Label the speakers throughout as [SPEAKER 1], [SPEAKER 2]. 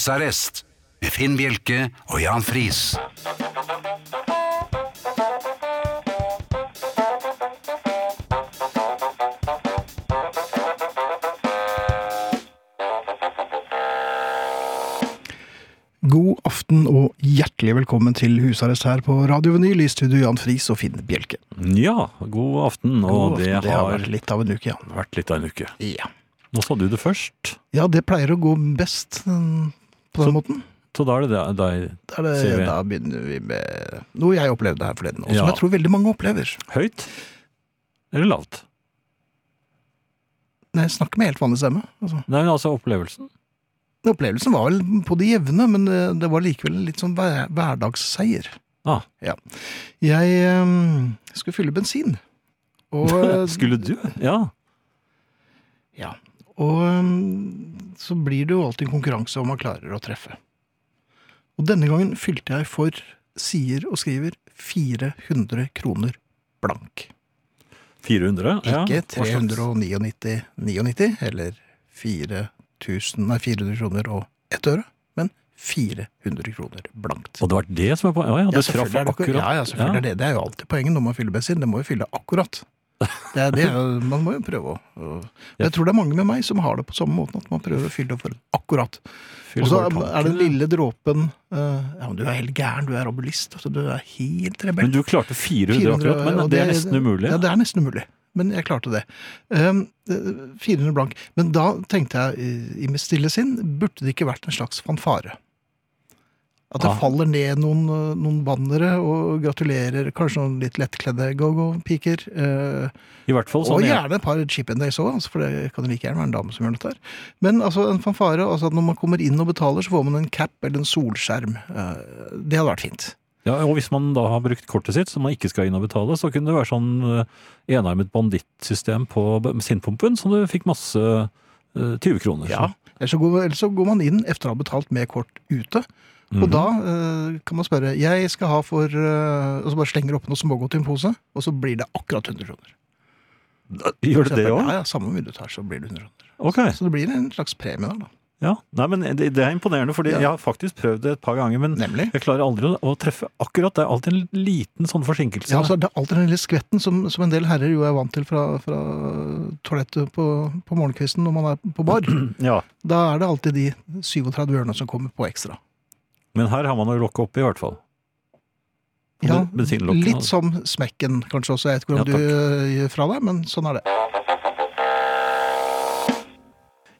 [SPEAKER 1] Husarrest med Finn Bjelke og Jan Friis.
[SPEAKER 2] God aften og hjertelig velkommen til husarrest her på Radio Vinyl i studio Jan Friis og Finn Bjelke.
[SPEAKER 3] Ja, god aften.
[SPEAKER 2] God
[SPEAKER 3] og
[SPEAKER 2] aften.
[SPEAKER 3] det,
[SPEAKER 2] det har vært
[SPEAKER 3] litt...
[SPEAKER 2] litt av en uke, Jan.
[SPEAKER 3] vært litt av en uke.
[SPEAKER 2] Ja.
[SPEAKER 3] Nå sa du det først,
[SPEAKER 2] ja, det pleier å gå best mm, på den måten.
[SPEAKER 3] så da er det deg- deg
[SPEAKER 2] Da, er det,
[SPEAKER 3] sier vi.
[SPEAKER 2] da begynner vi med noe jeg opplevde her forleden, og som
[SPEAKER 3] Ja.
[SPEAKER 2] jeg tror veldig mange opplever.
[SPEAKER 3] høyt eller lavt.
[SPEAKER 2] Nei, jeg snakker med helt vanlig stemme. Altså.
[SPEAKER 3] Nei, men altså opplevelsen.
[SPEAKER 2] Opplevelsen var vel på det jevne, men det, det var likevel en litt sånn hver, hverdagsseier.
[SPEAKER 3] Ah.
[SPEAKER 2] Ja. Jeg eh, skulle fylle bensin. Og, eh,
[SPEAKER 3] Skulle du? Ja.
[SPEAKER 2] Ja. Og øhm, så blir det jo alltid en konkurranse om man klarer å treffe. Og denne gangen fylte jeg for, sier og skriver, 400 kroner blank.
[SPEAKER 3] 400? ja.
[SPEAKER 2] Ikke
[SPEAKER 3] Hva slags-
[SPEAKER 2] 399 99, eller 4000, nei, 400 kroner og ett øre, men 400 kroner blankt.
[SPEAKER 3] Og det var det som er poenget? Ja, ja, det traff
[SPEAKER 2] selvfølgelig er det akkurat-
[SPEAKER 3] akkurat.
[SPEAKER 2] Ja, ja, selvfølgelig er det. Det er jo alltid poenget når man fyller bensin. Det må jo fylle akkurat. Det er det, er- man må jo prøve å å- Men Jeg tror det er mange med meg som har det på samme måten, at man prøver å fylle for akkurat. Og
[SPEAKER 3] Fyller
[SPEAKER 2] så
[SPEAKER 3] bare tanken.
[SPEAKER 2] er det den lille dråpen eh, Ja, men du er helt gæren, du er robulist. Altså, du er helt
[SPEAKER 3] Men
[SPEAKER 2] rebell.
[SPEAKER 3] du klarte 400 akkurat, men
[SPEAKER 2] og
[SPEAKER 3] det er nesten umulig.
[SPEAKER 2] Ja, det er nesten umulig. Men jeg klarte det. Ehm, eh, 400 blank. Men da tenkte jeg eh, i mitt stille sinn, burde det ikke vært en slags fanfare? At det
[SPEAKER 3] Ah.
[SPEAKER 2] faller ned noen, eh, noen bannere og gratulerer kanskje noen litt lettkledde go-go-piker. eh,
[SPEAKER 3] I hvert fall
[SPEAKER 2] og
[SPEAKER 3] sånn. jeg-
[SPEAKER 2] gjerne et par chip and days òg, altså, for det kan jo like gjerne være en dame som gjør dette. her. Men altså, en fanfare, altså at når man kommer inn og betaler, så får man en cap eller en solskjerm. Eh, Det hadde vært fint.
[SPEAKER 3] Ja, og hvis man da har brukt kortet sitt, som man ikke skal inn og betale, så kunne det være sånn eh, enarmet bandittsystem på bensinpumpen, så du fikk masse eh, 20 kroner.
[SPEAKER 2] Ellers så går, ellers så går man inn etter å ha betalt med kort ute, og
[SPEAKER 3] Mhm.
[SPEAKER 2] da eh, kan man spørre Jeg skal ha for eh, Og så bare slenger du opp noe smågodt i en pose, og så blir det akkurat 100 kroner.
[SPEAKER 3] Gjør det det òg?
[SPEAKER 2] Ja, ja, Samme mye du tar, så blir det 100 kroner.
[SPEAKER 3] Ok.
[SPEAKER 2] Så det blir en slags premie der, da.
[SPEAKER 3] Ja. Nei, men det, det er imponerende, fordi
[SPEAKER 2] Ja.
[SPEAKER 3] jeg har faktisk prøvd det et par ganger, men
[SPEAKER 2] Nemlig.
[SPEAKER 3] jeg klarer aldri å, å treffe akkurat. Det er alltid en liten sånn forsinkelse.
[SPEAKER 2] Ja, altså, det er alltid den lille skvetten som, som en del herrer jo er vant til fra, fra toalettet på, på morgenkvisten når man er på bar.
[SPEAKER 3] Ja.
[SPEAKER 2] Da er det alltid de 37 ørene som kommer på ekstra.
[SPEAKER 3] Men her har man å lokke opp i hvert fall. På
[SPEAKER 2] Ja,
[SPEAKER 3] ben- bensinlokkene,
[SPEAKER 2] litt
[SPEAKER 3] altså.
[SPEAKER 2] som smekken kanskje også. Jeg vet ikke
[SPEAKER 3] Ja,
[SPEAKER 2] hvordan du eh, gir fra deg, men sånn er det.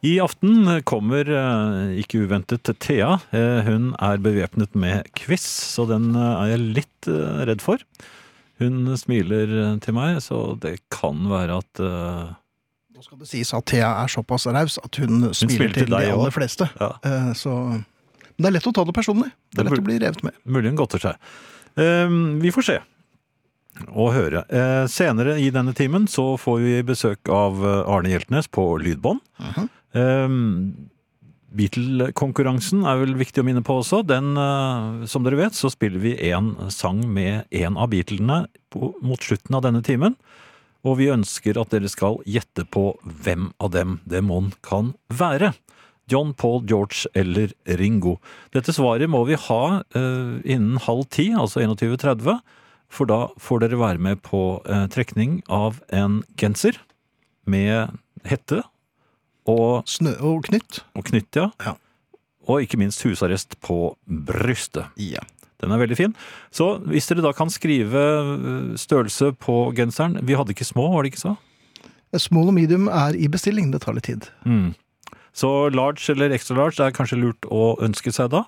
[SPEAKER 3] I aften kommer eh, ikke uventet Thea. Eh, Hun er bevæpnet med quiz, så den eh, er jeg litt eh, redd for. Hun smiler eh, til meg, så det kan være at eh,
[SPEAKER 2] Nå skal det sies at Thea er såpass raus at hun smiler
[SPEAKER 3] smiler til
[SPEAKER 2] til, de
[SPEAKER 3] deg også.
[SPEAKER 2] aller fleste.
[SPEAKER 3] ja,
[SPEAKER 2] Eh, Så, men det er lett å ta det personlig. Det
[SPEAKER 3] Det
[SPEAKER 2] er lett
[SPEAKER 3] burde-
[SPEAKER 2] å bli revet med.
[SPEAKER 3] mulig hun godter seg. Eh, Vi får se og høre. Eh, Senere i denne timen så får vi besøk av eh, Arne Hjeltnes på lydbånd.
[SPEAKER 2] Mhm.
[SPEAKER 3] Eh, Beatle-konkurransen er vel viktig å minne på også. Den, eh, som dere vet, så spiller vi en sang med en av Beatlene på, mot slutten av denne timen. Og vi ønsker at dere skal gjette på hvem av dem demon kan være. John Paul, George eller Ringo. Dette svaret må vi ha eh, innen halv ti, altså 21.30. For da får dere være med på eh, trekning av en genser med hette og
[SPEAKER 2] Snø og knytt.
[SPEAKER 3] og knytt, ja.
[SPEAKER 2] Ja.
[SPEAKER 3] Og ikke minst husarrest på brystet.
[SPEAKER 2] Ja.
[SPEAKER 3] Den er veldig fin. Så hvis dere da kan skrive øh, størrelse på genseren Vi hadde ikke små, var det ikke så?
[SPEAKER 2] Eh, Small og medium er i bestilling. Det tar litt tid.
[SPEAKER 3] Mm. Så large eller extra large er kanskje lurt å ønske seg da.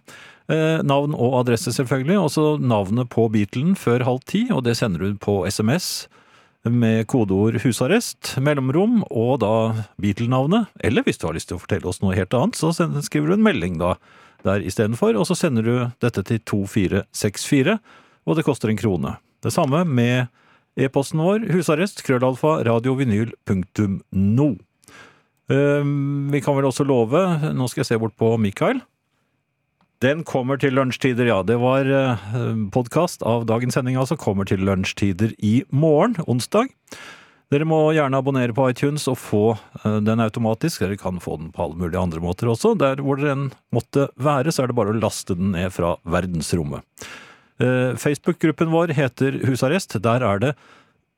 [SPEAKER 3] Eh, navn og adresse selvfølgelig, og så navnet på Beatlen før halv ti, og det sender du på SMS med kodeord 'husarrest', mellomrom og da Beatle-navnet. Eller hvis du har lyst til å fortelle oss noe helt annet, så send- skriver du en melding da der istedenfor, og så sender du dette til 2464, og det koster en krone. Det samme med e-posten vår husarrest krøllalfa radiovinyl.no. Ehm, Vi kan vel også love Nå skal jeg se bort på Mikael. Den kommer til lunsjtider, ja. Det var eh, podkast av dagens sending altså. Kommer til lunsjtider i morgen, onsdag. Dere må gjerne abonnere på iTunes og få eh, den automatisk. Dere kan få den på alle mulige andre måter også. Der hvor dere enn måtte være, så er det bare å laste den ned fra verdensrommet. Eh, Facebook-gruppen vår heter Husarrest. Der er det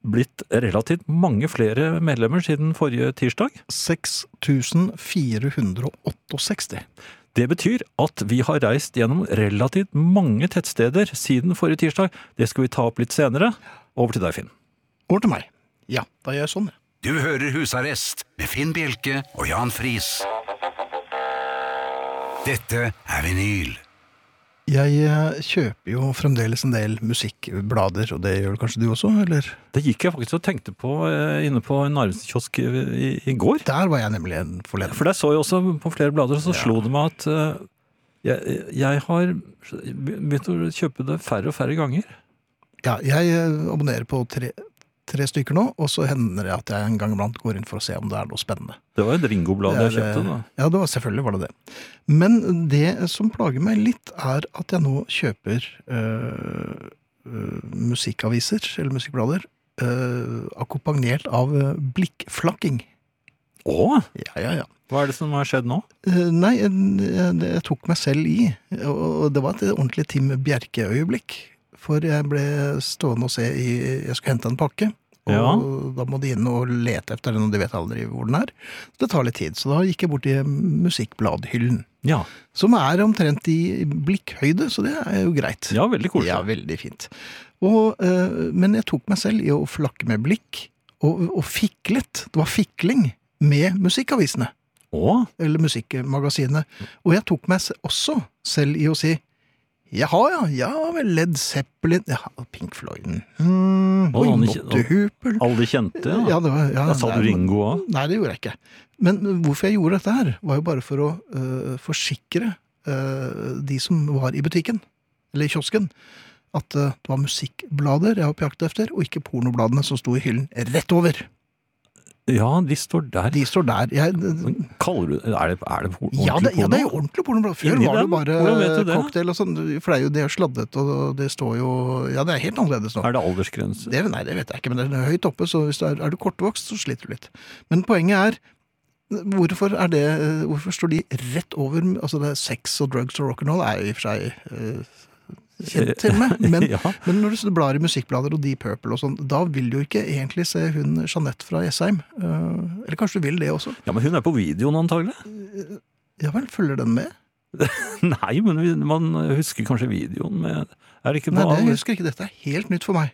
[SPEAKER 3] blitt relativt mange flere medlemmer siden forrige tirsdag.
[SPEAKER 2] 6468.
[SPEAKER 3] Det betyr at vi har reist gjennom relativt mange tettsteder siden forrige tirsdag. Det skal vi ta opp litt senere. Over til deg, Finn.
[SPEAKER 2] Over til meg. Ja, da gjør jeg sånn. jeg.
[SPEAKER 1] Du hører Husarrest med Finn Bjelke og Jan Friis. Dette er vinyl.
[SPEAKER 2] Jeg eh, kjøper jo fremdeles en del musikkblader, og det gjør vel kanskje du også, eller?
[SPEAKER 3] Det gikk jeg faktisk og tenkte på eh, inne på en Narvesen-kiosk i, i- i går.
[SPEAKER 2] Der var jeg nemlig en forleden.
[SPEAKER 3] For der så jeg også på flere blader, og så slo det meg at eh, jeg, jeg har begynt å kjøpe det færre og færre ganger.
[SPEAKER 2] Ja, jeg eh, abonnerer på tre, tre stykker nå, og så hender det at jeg en gang iblant går inn for å se om det er noe spennende.
[SPEAKER 3] Det var et Ringo-blad jeg
[SPEAKER 2] Det er, eh,
[SPEAKER 3] kjøpte. da.
[SPEAKER 2] Ja, det var, selvfølgelig var det det. Men det som plager meg litt, er at jeg nå kjøper øh, øh, musikkaviser, eller musikkblader, øh, akkompagnert av øh, blikkflakking.
[SPEAKER 3] Å,
[SPEAKER 2] Ja, ja, ja.
[SPEAKER 3] hva er det som har skjedd nå?
[SPEAKER 2] Eh, Nei, jeg, jeg, jeg tok meg selv i, og og det var et ordentlig Tim Bjerke-øyeblikk. For jeg ble stående og se i Jeg skulle hente en pakke. Og
[SPEAKER 3] Ja.
[SPEAKER 2] da må de inn og lete etter den, og de vet aldri hvor den er. Det tar litt tid, så da gikk jeg bort til musikkbladhyllen.
[SPEAKER 3] Ja,
[SPEAKER 2] Som er omtrent i blikkhøyde, så det er jo greit.
[SPEAKER 3] ja veldig koselig.
[SPEAKER 2] Ja, veldig fint. Og, eh, men jeg tok meg selv i å flakke med blikk, og, og fiklet. Det var fikling med musikkavisene
[SPEAKER 3] Å,
[SPEAKER 2] eller musikkmagasinet. Og jeg tok meg se- også selv i å si Jaha, ja. Ja vel, Led Zeppelin ja, Pink Floyd mm,
[SPEAKER 3] Og
[SPEAKER 2] Oi,
[SPEAKER 3] han ikke-
[SPEAKER 2] Motte Hupel
[SPEAKER 3] alle de kjente? Ja.
[SPEAKER 2] Ja, det var ja,
[SPEAKER 3] da sa
[SPEAKER 2] nei,
[SPEAKER 3] du Ringo òg?
[SPEAKER 2] Nei, det gjorde jeg ikke. Men hvorfor jeg gjorde dette her, var jo bare for å øh, forsikre øh, de som var i butikken, eller i kiosken, at øh, det var musikkblader jeg var på jakt efter, og ikke pornobladene som sto i hyllen rett over.
[SPEAKER 3] Ja, de står der.
[SPEAKER 2] De står der. Jeg, øh,
[SPEAKER 3] Men Kaller du Er det, er det ordentlig
[SPEAKER 2] Ja det, ja, det er jo
[SPEAKER 3] porno?
[SPEAKER 2] ordentlig pornoblad. Før
[SPEAKER 3] Inni
[SPEAKER 2] var det
[SPEAKER 3] dem?
[SPEAKER 2] bare
[SPEAKER 3] Hvordan vet du
[SPEAKER 2] eh,
[SPEAKER 3] det?
[SPEAKER 2] cocktail og sånn, for det er jo det er sladdet, og det står jo Ja, det er helt annerledes nå.
[SPEAKER 3] Er det aldersgrense?
[SPEAKER 2] Det, nei, det vet jeg ikke, men det er høyt oppe, så hvis du er, er du kortvokst, så sliter du litt. Men poenget er Hvorfor, er det, eh, hvorfor står de rett over altså det er Sex og drugs og rock'n'roll er jo i og for seg eh, kjent til meg, men,
[SPEAKER 3] Ja.
[SPEAKER 2] men når du blar i musikkblader og Deep Purple og sånn, da vil du jo ikke egentlig se hun Jeanette fra Jessheim. eh, Eller kanskje du vil det også?
[SPEAKER 3] ja, men hun er på videoen antagelig?
[SPEAKER 2] Ja vel, følger den med?
[SPEAKER 3] Nei, men vi- man husker kanskje videoen med Er det ikke
[SPEAKER 2] Nei,
[SPEAKER 3] noe
[SPEAKER 2] det
[SPEAKER 3] annet?
[SPEAKER 2] husker jeg ikke. Dette er helt nytt for meg.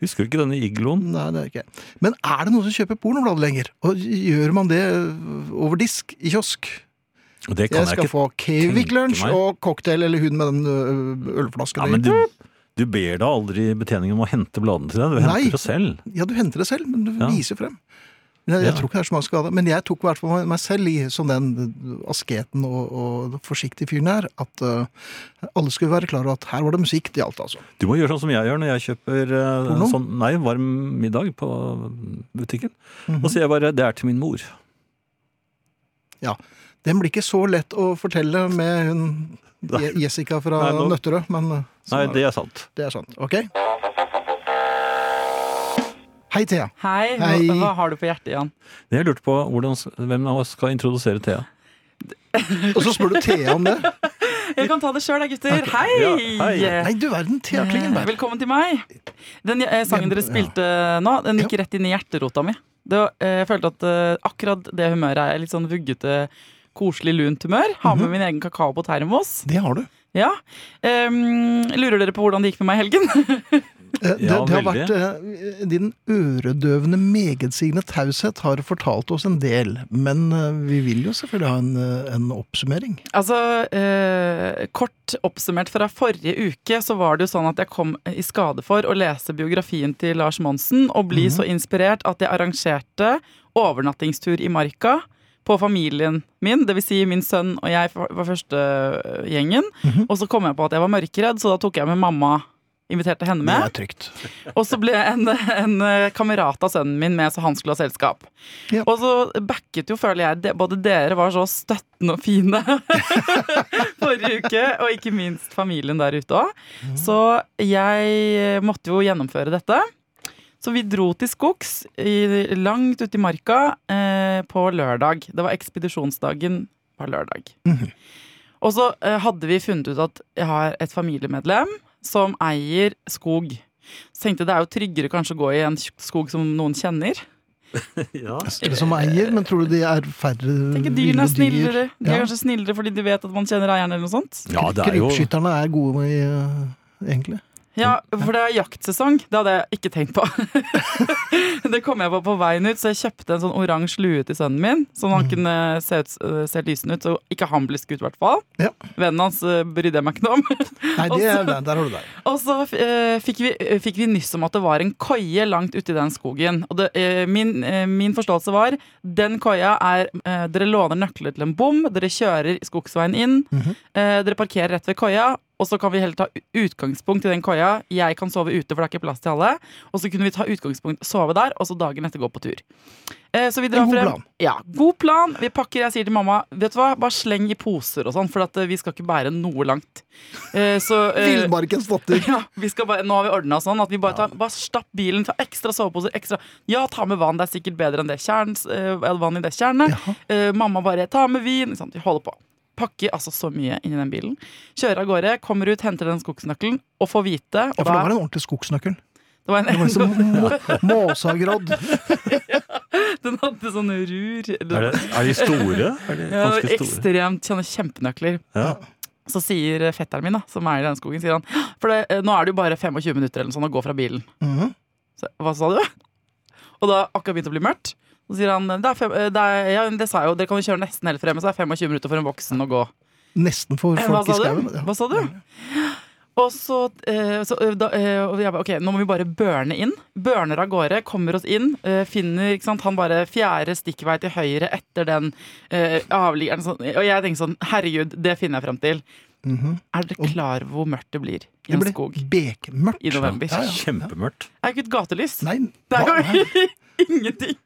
[SPEAKER 3] Husker du ikke denne igloen?
[SPEAKER 2] Nei, det er det ikke. Men er det noen som kjøper pornoblad lenger? Og gjør man det øh, over disk i kiosk?
[SPEAKER 3] Det kan
[SPEAKER 2] jeg
[SPEAKER 3] jeg,
[SPEAKER 2] skal
[SPEAKER 3] ikke
[SPEAKER 2] få Kevik
[SPEAKER 3] tenke
[SPEAKER 2] Lunsj
[SPEAKER 3] meg.
[SPEAKER 2] og cocktail eller hun med den øh, ølflaska
[SPEAKER 3] ja,
[SPEAKER 2] di.
[SPEAKER 3] men du, du ber da aldri betjeningen om å hente bladene til deg, du
[SPEAKER 2] Nei.
[SPEAKER 3] henter det selv.
[SPEAKER 2] Ja, du henter det selv, men du
[SPEAKER 3] Ja.
[SPEAKER 2] viser frem. Men Jeg, jeg
[SPEAKER 3] Ja.
[SPEAKER 2] tror ikke det er så mange skader, men jeg tok i hvert fall meg selv i som den øh, asketen og, og forsiktige fyren her, at øh, alle skulle være klar over at her var det musikk det gjaldt, altså.
[SPEAKER 3] Du må gjøre sånn som jeg gjør når jeg kjøper eh,
[SPEAKER 2] Porno?
[SPEAKER 3] sånn, nei, varm middag på butikken.
[SPEAKER 2] Mhm.
[SPEAKER 3] Og sier jeg bare 'det er til min mor'.
[SPEAKER 2] Ja. Den blir ikke så lett å fortelle med hun
[SPEAKER 3] Nei.
[SPEAKER 2] Je- Jessica fra
[SPEAKER 3] Nei, nå-
[SPEAKER 2] Nøtterøy, men øh, sånn
[SPEAKER 3] Nei,
[SPEAKER 2] er det.
[SPEAKER 3] det er sant.
[SPEAKER 2] Det er sant. Ok? Hei, Thea.
[SPEAKER 4] Hei, hva-
[SPEAKER 2] Hei.
[SPEAKER 4] hva har du på hjertet, Jan?
[SPEAKER 3] Jeg lurte på hvordan, hvem av oss skal introdusere Thea.
[SPEAKER 2] Og så spør du Thea om det.
[SPEAKER 4] Jeg kan ta det sjøl, gutter. Hei!
[SPEAKER 3] Ja, hei.
[SPEAKER 2] Nei, du verden. Thea Klingenberg.
[SPEAKER 4] Velkommen til meg. Den eh, sangen dere spilte nå, den gikk rett inn i hjerterota mi. Det, var- eh, jeg følte at eh, akkurat det humøret er litt sånn vuggete, koselig, lunt humør. Har
[SPEAKER 2] Mhm.
[SPEAKER 4] med min egen kakao på termos.
[SPEAKER 2] Det har du.
[SPEAKER 4] Ja. Em, lurer dere på hvordan det gikk med meg i helgen?
[SPEAKER 2] Eh, Det,
[SPEAKER 3] Ja,
[SPEAKER 2] det har
[SPEAKER 3] veldig.
[SPEAKER 2] vært eh, Din øredøvende, megetsigende taushet har fortalt oss en del. Men eh, vi vil jo selvfølgelig ha en, eh, en oppsummering.
[SPEAKER 4] Altså, eh, Kort oppsummert fra forrige uke, så var det jo sånn at jeg kom i skade for å lese biografien til Lars Monsen og bli så inspirert at jeg arrangerte overnattingstur i Marka på familien min, dvs. Si min sønn og jeg var første eh, gjengen. Og så kom jeg på at jeg var mørkeredd, så da tok jeg med mamma. Inviterte henne
[SPEAKER 2] Det
[SPEAKER 4] med.
[SPEAKER 2] er trygt.
[SPEAKER 4] Og så ble en, en eh, kamerat av sønnen min med, så han skulle ha selskap.
[SPEAKER 2] Ja.
[SPEAKER 4] Og så backet jo, føler jeg, de- både dere var så støttende og fine forrige uke, og ikke minst familien der ute òg. Så jeg måtte jo gjennomføre dette. Så vi dro til skogs i, langt ute i marka eh, på lørdag. Det var ekspedisjonsdagen på lørdag.
[SPEAKER 2] Mhm.
[SPEAKER 4] Og så eh, hadde vi funnet ut at jeg har et familiemedlem som eier skog. Så tenkte jeg det er jo tryggere kanskje å gå i en skog som noen kjenner.
[SPEAKER 3] Ja.
[SPEAKER 2] Eller som eier, men tror du de er færre
[SPEAKER 4] Tenker
[SPEAKER 2] ville
[SPEAKER 4] dyrene er snillere.
[SPEAKER 2] Mm, dyr?
[SPEAKER 4] De er
[SPEAKER 2] Ja.
[SPEAKER 4] kanskje snillere fordi de vet at man kjenner eieren eller noe sånt.
[SPEAKER 3] det er jo
[SPEAKER 2] Krypskytterne er gode i eh, egentlig.
[SPEAKER 4] Ja, for det er jaktsesong. Det hadde jeg ikke tenkt på. det kom jeg på på veien ut, så jeg kjøpte en sånn oransje lue til sønnen min. Sånn
[SPEAKER 2] Mm.
[SPEAKER 4] han kunne se, ut, eh, se lysende ut, så ikke han ble skutt, i hvert fall.
[SPEAKER 2] Ja.
[SPEAKER 4] Vennen hans eh, brydde jeg meg ikke noe om.
[SPEAKER 2] Nei, det er, der, der har du deg.
[SPEAKER 4] Og så eh, fikk, vi, eh, fikk vi nyss om at det var en koie langt ute i den skogen. Og det, eh, min, eh, min forståelse var den koia er eh, Dere låner nøkler til en bom, dere kjører skogsveien inn,
[SPEAKER 2] Mhm.
[SPEAKER 4] eh, dere parkerer rett ved koia, og så kan vi heller ta u- utgangspunkt i den koia. Jeg kan sove ute, for det er ikke plass til alle. Og så kunne vi ta utgangspunkt, sove der, og så dagen etter gå på tur. Eh, så vi drar
[SPEAKER 2] En god
[SPEAKER 4] frem
[SPEAKER 2] plan.
[SPEAKER 4] Ja, god plan. Vi pakker, jeg sier til mamma, vet du hva, bare sleng i poser og sånn, for at eh, vi skal ikke bære noe langt. Eh, så eh,
[SPEAKER 2] Villmarkens datter.
[SPEAKER 4] ja, vi skal bare, nå har vi ordna sånn at vi bare, tar, bare stapp bilen, ta ekstra soveposer, ekstra Ja, ta med vann, det er sikkert bedre enn det kjerns, eh, vann i det tjernet.
[SPEAKER 2] Jaha.
[SPEAKER 4] Eh, mamma bare ta med vin. Ikke sant? Vi holder på. Pakker altså så mye inn i den bilen. Kjører av gårde, kommer ut, henter den skogsnøkkelen og får vite og
[SPEAKER 2] Ja, for det var en ordentlig skogsnøkkel.
[SPEAKER 4] det var en,
[SPEAKER 2] Det var liksom må- måsagrodd.
[SPEAKER 4] Den hadde sånn rur.
[SPEAKER 3] er, det, er de store? Er de
[SPEAKER 4] Ja,
[SPEAKER 3] ganske store?
[SPEAKER 4] ekstremt kjenner kjempenøkler.
[SPEAKER 3] Ja.
[SPEAKER 4] Så sier fetteren min, da, som er i den skogen, sier han «Hå, For det, eh, nå er det jo bare 25 minutter eller noe sånn å gå fra bilen.
[SPEAKER 2] Mhm.
[SPEAKER 4] Så, jeg, Hva sa du? Og da akkurat begynte å bli mørkt. Så sier han det, er fem, eh, det, er, ja, men det sa jeg jo, dere kan jo kjøre nesten helt fremme, så er det 25 minutter for en voksen å gå.
[SPEAKER 2] Nesten for
[SPEAKER 4] Eh, Hva
[SPEAKER 2] folk i
[SPEAKER 4] sa
[SPEAKER 2] skauen.
[SPEAKER 4] du? Hva sa du? Og så, eh, så eh, da, eh, og jeg bare, ok, nå må vi bare børne inn. Børner av gårde, kommer oss inn. eh, finner ikke sant, han bare fjerde stikkvei til høyre etter den eh, avliggeren. Sånn, og jeg tenker sånn, herregud, det finner jeg frem til.
[SPEAKER 2] Mhm.
[SPEAKER 4] Er dere klar over hvor mørkt det blir i
[SPEAKER 2] Det
[SPEAKER 4] en
[SPEAKER 2] ble
[SPEAKER 4] skog
[SPEAKER 2] bekmørkt.
[SPEAKER 4] i november?
[SPEAKER 2] Ja, ja.
[SPEAKER 3] Kjempemørkt.
[SPEAKER 4] Det er jo ikke et gatelys.
[SPEAKER 2] Nei,
[SPEAKER 4] det
[SPEAKER 2] hva?
[SPEAKER 4] er
[SPEAKER 2] Nei,
[SPEAKER 4] jo ingenting.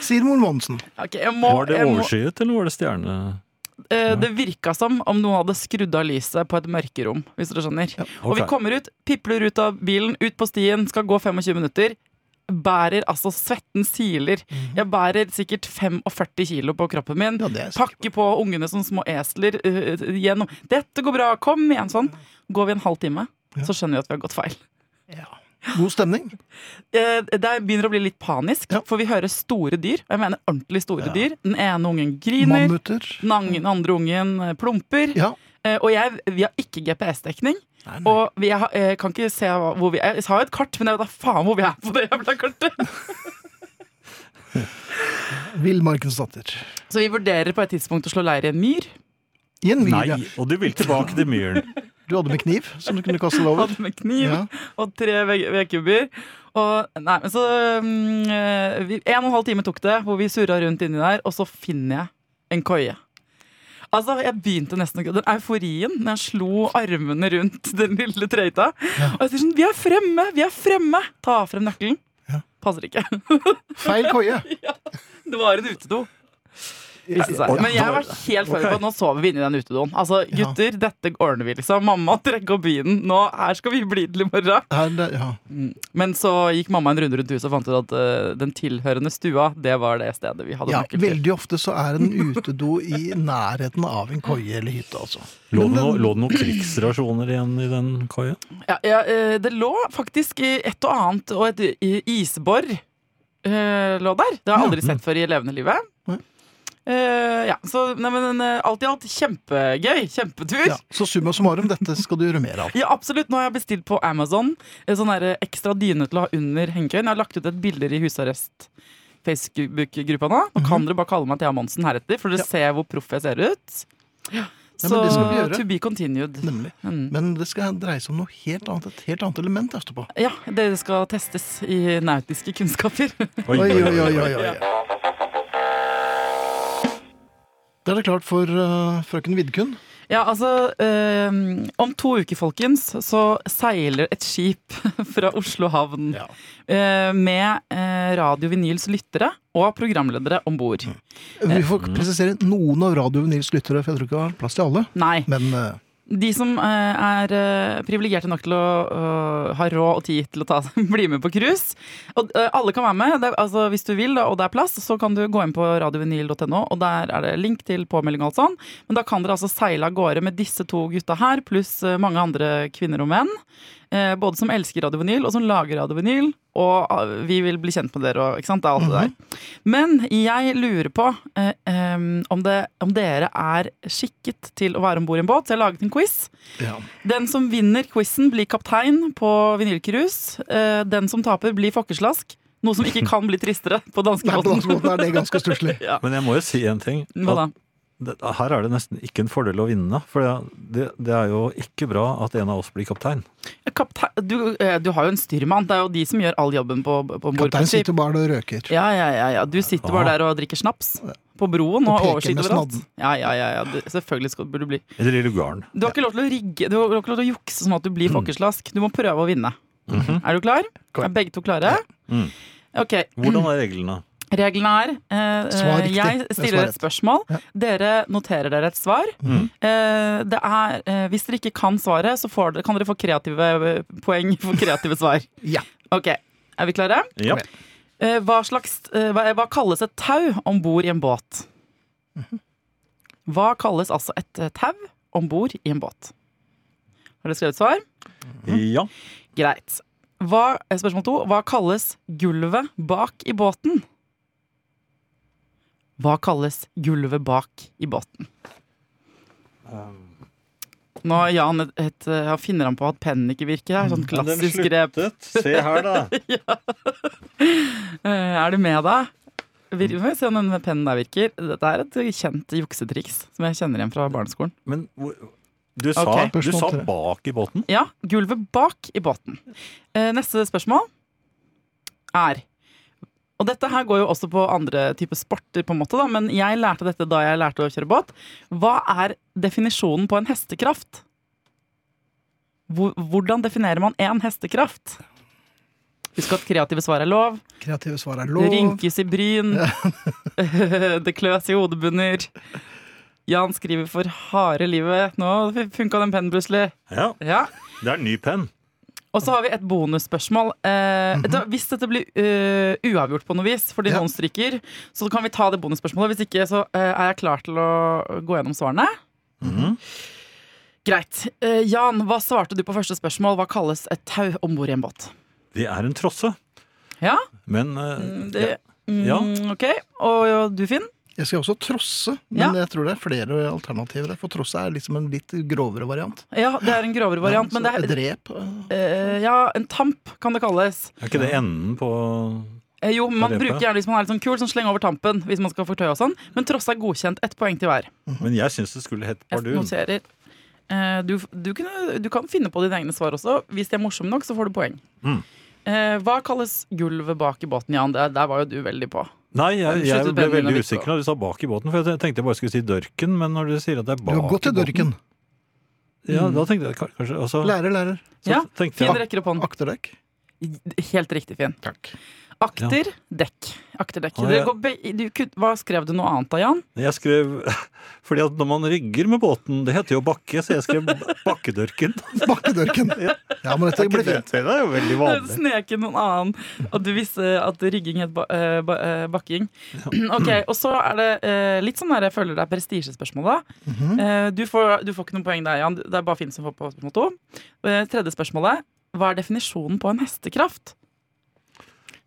[SPEAKER 2] sier mor Monsen.
[SPEAKER 4] Ok, jeg må,
[SPEAKER 3] Var det
[SPEAKER 4] jeg må,
[SPEAKER 3] overskyet, eller var det stjerne...?
[SPEAKER 4] eh, det virka som om noen hadde skrudd av lyset på et mørkerom, hvis dere skjønner. Og vi
[SPEAKER 3] Ok.
[SPEAKER 4] kommer ut, pipler ut av bilen, ut på stien, skal gå 25 minutter. Bærer altså svetten siler. Jeg bærer sikkert 45 kilo på kroppen min.
[SPEAKER 2] Mhm. Ja, det er sikkert.
[SPEAKER 4] Pakker på ungene som små esler øh, øh, gjennom. 'Dette går bra, kom igjen!' sånn. Går vi en halv time, så skjønner vi at vi har gått feil.
[SPEAKER 2] God stemning.
[SPEAKER 4] Eh, Det begynner å bli litt panisk,
[SPEAKER 2] Ja.
[SPEAKER 4] for vi hører store dyr. Og jeg mener ordentlig store dyr. Den ene ungen griner.
[SPEAKER 2] Mammuter.
[SPEAKER 4] Den ang- den andre ungen eh, plumper.
[SPEAKER 2] Ja.
[SPEAKER 4] Eh, Og jeg, vi har ikke GPS-dekning. Og vi har, eh, kan ikke se hva- hvor vi er. Jeg har jo et kart, men jeg vet da faen hvor vi er på det jævla kartet.
[SPEAKER 2] Villmarkens datter.
[SPEAKER 4] Så vi vurderer på et tidspunkt å slå leir i en myr.
[SPEAKER 2] I en myr.
[SPEAKER 3] Nei,
[SPEAKER 2] ja.
[SPEAKER 3] og du vil tilbake til myren.
[SPEAKER 2] Du hadde med kniv som du kunne kaste deg over.
[SPEAKER 4] Hadde med kniv
[SPEAKER 2] Ja.
[SPEAKER 4] og tre ve- vedkubber. Og nei, men så mm, eh, vi, En og en halv time tok det, hvor vi surra rundt inni der, og så finner jeg en koie. Altså, jeg begynte nesten å Den euforien når jeg slo armene rundt den lille trøyta. Og jeg sier sånn Vi er fremme! Vi er fremme! Ta frem nøkkelen.
[SPEAKER 2] Ja.
[SPEAKER 4] Passer ikke.
[SPEAKER 2] Feil koie.
[SPEAKER 4] Det var en utedo. Viste seg.
[SPEAKER 2] Ja,
[SPEAKER 4] Men jeg var helt forberedt på at nå sover vi inne i den utedoen. Altså, gutter, dette ordner vi, liksom. Mamma, trekk opp bilen. Nå, her skal vi bli til i morgen.
[SPEAKER 2] Her, der, ja.
[SPEAKER 4] Men så gikk mamma en runde rundt huset og fant ut at eh, den tilhørende stua, det var det stedet vi hadde
[SPEAKER 2] ja,
[SPEAKER 4] nøkkel til.
[SPEAKER 2] veldig ofte så er en utedo i nærheten av en koie eller hytte, altså.
[SPEAKER 3] Lå det, noe, lå det noen krigsrasjoner igjen i den koia?
[SPEAKER 4] Ja, ja, eh, det lå faktisk i et og annet, og et i- isbor eh, lå der. Det har jeg aldri sett før i levende livet.
[SPEAKER 2] Nei.
[SPEAKER 4] Eh, ja, så nei, men, eh, alt i alt kjempegøy. Kjempetur.
[SPEAKER 2] Ja, så summa summarum, dette skal du gjøre mer av.
[SPEAKER 4] Ja, absolutt. Nå har jeg bestilt på Amazon en sånn der ekstra dyne til å ha under hengekøyen. Jeg har lagt ut et bilder i husarrest. Facebook-gruppa nå. Nå
[SPEAKER 2] Mhm.
[SPEAKER 4] kan dere bare kalle meg Thea Monsen heretter, for dere ser hvor proff jeg ser ut.
[SPEAKER 2] Ja,
[SPEAKER 4] Så
[SPEAKER 2] men det skal vi gjøre.
[SPEAKER 4] to be continued.
[SPEAKER 2] Nemlig.
[SPEAKER 4] Mm.
[SPEAKER 2] Men det skal dreie seg om noe helt annet, et helt annet element etterpå.
[SPEAKER 4] Ja, dere skal testes i nautiske kunnskaper.
[SPEAKER 2] Oi, oi, oi, oi, oi, oi. Da er det klart for eh, frøken Vidkun.
[SPEAKER 4] ja, altså eh, Om to uker, folkens, så seiler et skip fra Oslo havn
[SPEAKER 2] Ja.
[SPEAKER 4] eh, med eh, Radio Vinyls lyttere og programledere om bord.
[SPEAKER 2] Mm. Vi får presisere noen av Radio Nils lyttere, for jeg tror ikke det var plass til alle.
[SPEAKER 4] Nei.
[SPEAKER 2] Men eh,
[SPEAKER 4] De som eh, er eh, privilegerte nok til å eh, ha råd og tid til å ta, bli med på cruise. Og eh, alle kan være med det, er- altså, hvis du vil, da, og det er plass. Så kan du gå inn på radiovinyl.no, og der er det link til påmelding og alt sånn. Men da kan dere altså seile av gårde med disse to gutta her, pluss eh, mange andre kvinner og menn. Eh, både som elsker radiovinyl, og som lager radiovinyl. Og ah, vi vil bli kjent med dere og ikke sant? Det er alt det der. Men jeg lurer på eh, em, om, det, om dere er skikket til å være om bord i en båt. Så jeg har laget en quiz.
[SPEAKER 2] Ja.
[SPEAKER 4] Den som vinner quizen, blir kaptein på vinylcruise. Eh, den som taper, blir fokkeslask. Noe som ikke kan bli tristere på
[SPEAKER 2] Nei, på
[SPEAKER 4] danskebåten.
[SPEAKER 2] dansebåten er det ganske stusslig.
[SPEAKER 3] Men jeg må jo si en ting.
[SPEAKER 4] Hva da?
[SPEAKER 3] At det, her er det nesten ikke en fordel å vinne. For det, det er jo ikke bra at en av oss blir kaptein.
[SPEAKER 4] Kaptein, du, eh, du har jo en styrmann. Det er jo de som gjør all jobben på, på om bord på
[SPEAKER 2] Kapteinen
[SPEAKER 4] skip.
[SPEAKER 2] sitter bare og røker.
[SPEAKER 4] Ja, ja, ja, ja. Du sitter bare
[SPEAKER 3] Ah.
[SPEAKER 4] der og drikker snaps på broen og,
[SPEAKER 2] Og peker
[SPEAKER 4] oversikt
[SPEAKER 2] med
[SPEAKER 4] overalt.
[SPEAKER 2] snadden.
[SPEAKER 4] Ja, ja, ja, ja. Du, selvfølgelig skal, burde du bli
[SPEAKER 3] Eller i lugaren.
[SPEAKER 4] Du har ikke lov til å rigge Du har ikke lov til å jukse sånn at du
[SPEAKER 2] Mm.
[SPEAKER 4] blir folkeslask. Du må prøve å vinne.
[SPEAKER 2] Mhm.
[SPEAKER 4] Er du klar?
[SPEAKER 2] Klar.
[SPEAKER 4] Er begge to klare?
[SPEAKER 3] Mm.
[SPEAKER 4] Ok.
[SPEAKER 3] Hvordan er reglene?
[SPEAKER 4] Reglene er
[SPEAKER 2] Svar
[SPEAKER 4] eh,
[SPEAKER 2] riktig.
[SPEAKER 4] Jeg
[SPEAKER 2] Det er
[SPEAKER 4] stiller
[SPEAKER 2] svar
[SPEAKER 4] et spørsmål. Dere noterer dere et svar.
[SPEAKER 2] Mm.
[SPEAKER 3] Mhm.
[SPEAKER 4] Eh, det er, eh, hvis dere ikke kan svaret, så får dere, kan dere få kreative eh, poeng for kreative svar.
[SPEAKER 2] Ja.
[SPEAKER 4] Ok, Er vi klare?
[SPEAKER 3] Ja.
[SPEAKER 2] Ok.
[SPEAKER 4] Eh, hva, slags, eh, hva, hva kalles et tau om bord i en båt? Hva kalles altså et eh, tau om bord i en båt? Har dere skrevet svar?
[SPEAKER 3] ja.
[SPEAKER 4] Greit. Hva, eh, spørsmål to. Hva kalles gulvet bak i båten? Hva kalles gulvet bak i båten? Nå har Jan et, et, eh, han finner han på at pennen ikke virker. her, Sånn klassisk grep.
[SPEAKER 3] Se her, da.
[SPEAKER 4] Eh, Er du med, da? Vir- Får vi se om den pennen der virker. Dette er et kjent juksetriks som jeg kjenner igjen fra barneskolen.
[SPEAKER 3] Men hvor- du sa,
[SPEAKER 4] Ok.
[SPEAKER 3] du
[SPEAKER 2] Spørsmål
[SPEAKER 3] sa
[SPEAKER 2] tre.
[SPEAKER 3] bak i båten.
[SPEAKER 4] Ja, gulvet bak i båten. Eh, Neste spørsmål er Og dette her går jo også på andre typer sporter, på en måte, da, men jeg lærte dette da jeg lærte å kjøre båt. Hva er definisjonen på en hestekraft? Hvor- Hvordan definerer man én hestekraft? Husk at kreative svar er lov.
[SPEAKER 2] Kreative svar er
[SPEAKER 4] Det
[SPEAKER 2] lov.
[SPEAKER 4] rynkes i bryn. det kløs i hodebunner. Jan skriver for harde livet. Nå funka den pennen plutselig.
[SPEAKER 3] Ja,
[SPEAKER 4] Ja.
[SPEAKER 3] det er ny penn.
[SPEAKER 4] Og så har vi et bonusspørsmål. Eh,
[SPEAKER 3] Mhm.
[SPEAKER 4] da, hvis dette blir eh, uavgjort på noe vis, fordi
[SPEAKER 2] Ja.
[SPEAKER 4] noen stryker, så kan vi ta det bonusspørsmålet. Hvis ikke, så eh, er jeg klar til å gå gjennom svarene.
[SPEAKER 3] Mhm.
[SPEAKER 4] Greit. Eh, Jan, hva svarte du på første spørsmål? Hva kalles et tau om bord i en båt?
[SPEAKER 3] Det er en trosse.
[SPEAKER 4] Ja,
[SPEAKER 3] Men eh,
[SPEAKER 4] mm, det, mm,
[SPEAKER 3] Ja.
[SPEAKER 4] ok. Og ja, du, Finn?
[SPEAKER 2] Jeg skal også trosse,
[SPEAKER 4] Ja.
[SPEAKER 2] men jeg tror det er flere alternativer. der, For trosse er liksom en litt grovere variant.
[SPEAKER 4] Ja, det er en grovere variant, men det
[SPEAKER 2] Så
[SPEAKER 4] er
[SPEAKER 2] Drep. eh,
[SPEAKER 4] eh, Ja, en tamp kan det kalles.
[SPEAKER 3] er ikke det enden på
[SPEAKER 4] Eh, jo, man
[SPEAKER 3] det på?
[SPEAKER 4] bruker gjerne hvis man er litt sånn kul, sånn sleng over tampen hvis man skal fortøye og sånn. Men tross er godkjent. Ett poeng til hver.
[SPEAKER 2] Mhm.
[SPEAKER 3] Men jeg syns det skulle hett
[SPEAKER 4] Jeg
[SPEAKER 3] bardun.
[SPEAKER 4] noterer. Eh, Du, du, kunne, du kan finne på dine egne svar også. Hvis de er morsomme nok, så får du poeng.
[SPEAKER 3] Mm.
[SPEAKER 4] Eh, Hva kalles gulvet bak i båten, Jan? Der, der var jo du veldig på.
[SPEAKER 3] Nei, jeg, jeg
[SPEAKER 4] Sluttet
[SPEAKER 3] ble
[SPEAKER 4] pennen å
[SPEAKER 3] veldig
[SPEAKER 4] virke
[SPEAKER 3] usikker da du sa bak i båten, for jeg tenkte jeg bare skulle si dørken, men når du sier at det er
[SPEAKER 2] Du
[SPEAKER 3] bak
[SPEAKER 2] har gått
[SPEAKER 3] i
[SPEAKER 2] til dørken.
[SPEAKER 3] båten Ja, da tenkte jeg ka- kanskje og så-
[SPEAKER 2] Lærer, lærer.
[SPEAKER 3] så
[SPEAKER 4] Ja,
[SPEAKER 3] tenkte
[SPEAKER 4] Finn
[SPEAKER 3] jeg,
[SPEAKER 4] rekker opp hånden.
[SPEAKER 2] Akterdekk.
[SPEAKER 4] Helt riktig, Finn.
[SPEAKER 2] Takk.
[SPEAKER 4] Akter dekk. Akterdekk.
[SPEAKER 3] Ah,
[SPEAKER 4] Dere
[SPEAKER 3] ja.
[SPEAKER 4] går be- du kun- Hva skrev du noe annet da, Jan?
[SPEAKER 3] jeg skrev Fordi at når man rygger med båten Det heter jo bakke, så jeg skrev bakkedørken.
[SPEAKER 2] Bakkedørken. Ja, men dette blir fint.
[SPEAKER 3] Det er jo veldig vanlig.
[SPEAKER 4] Sneke noen annen at du visste at rigging het ba eh, ba eh, bakking. Ok, Og så er det eh, litt sånn der jeg føler det er prestisjespørsmål, da.
[SPEAKER 3] Mhm.
[SPEAKER 4] Eh, du, får, du får ikke noen poeng der, Jan. Det er bare Finn som får på spørsmål to. Eh, tredje spørsmålet. Hva er definisjonen på en hestekraft?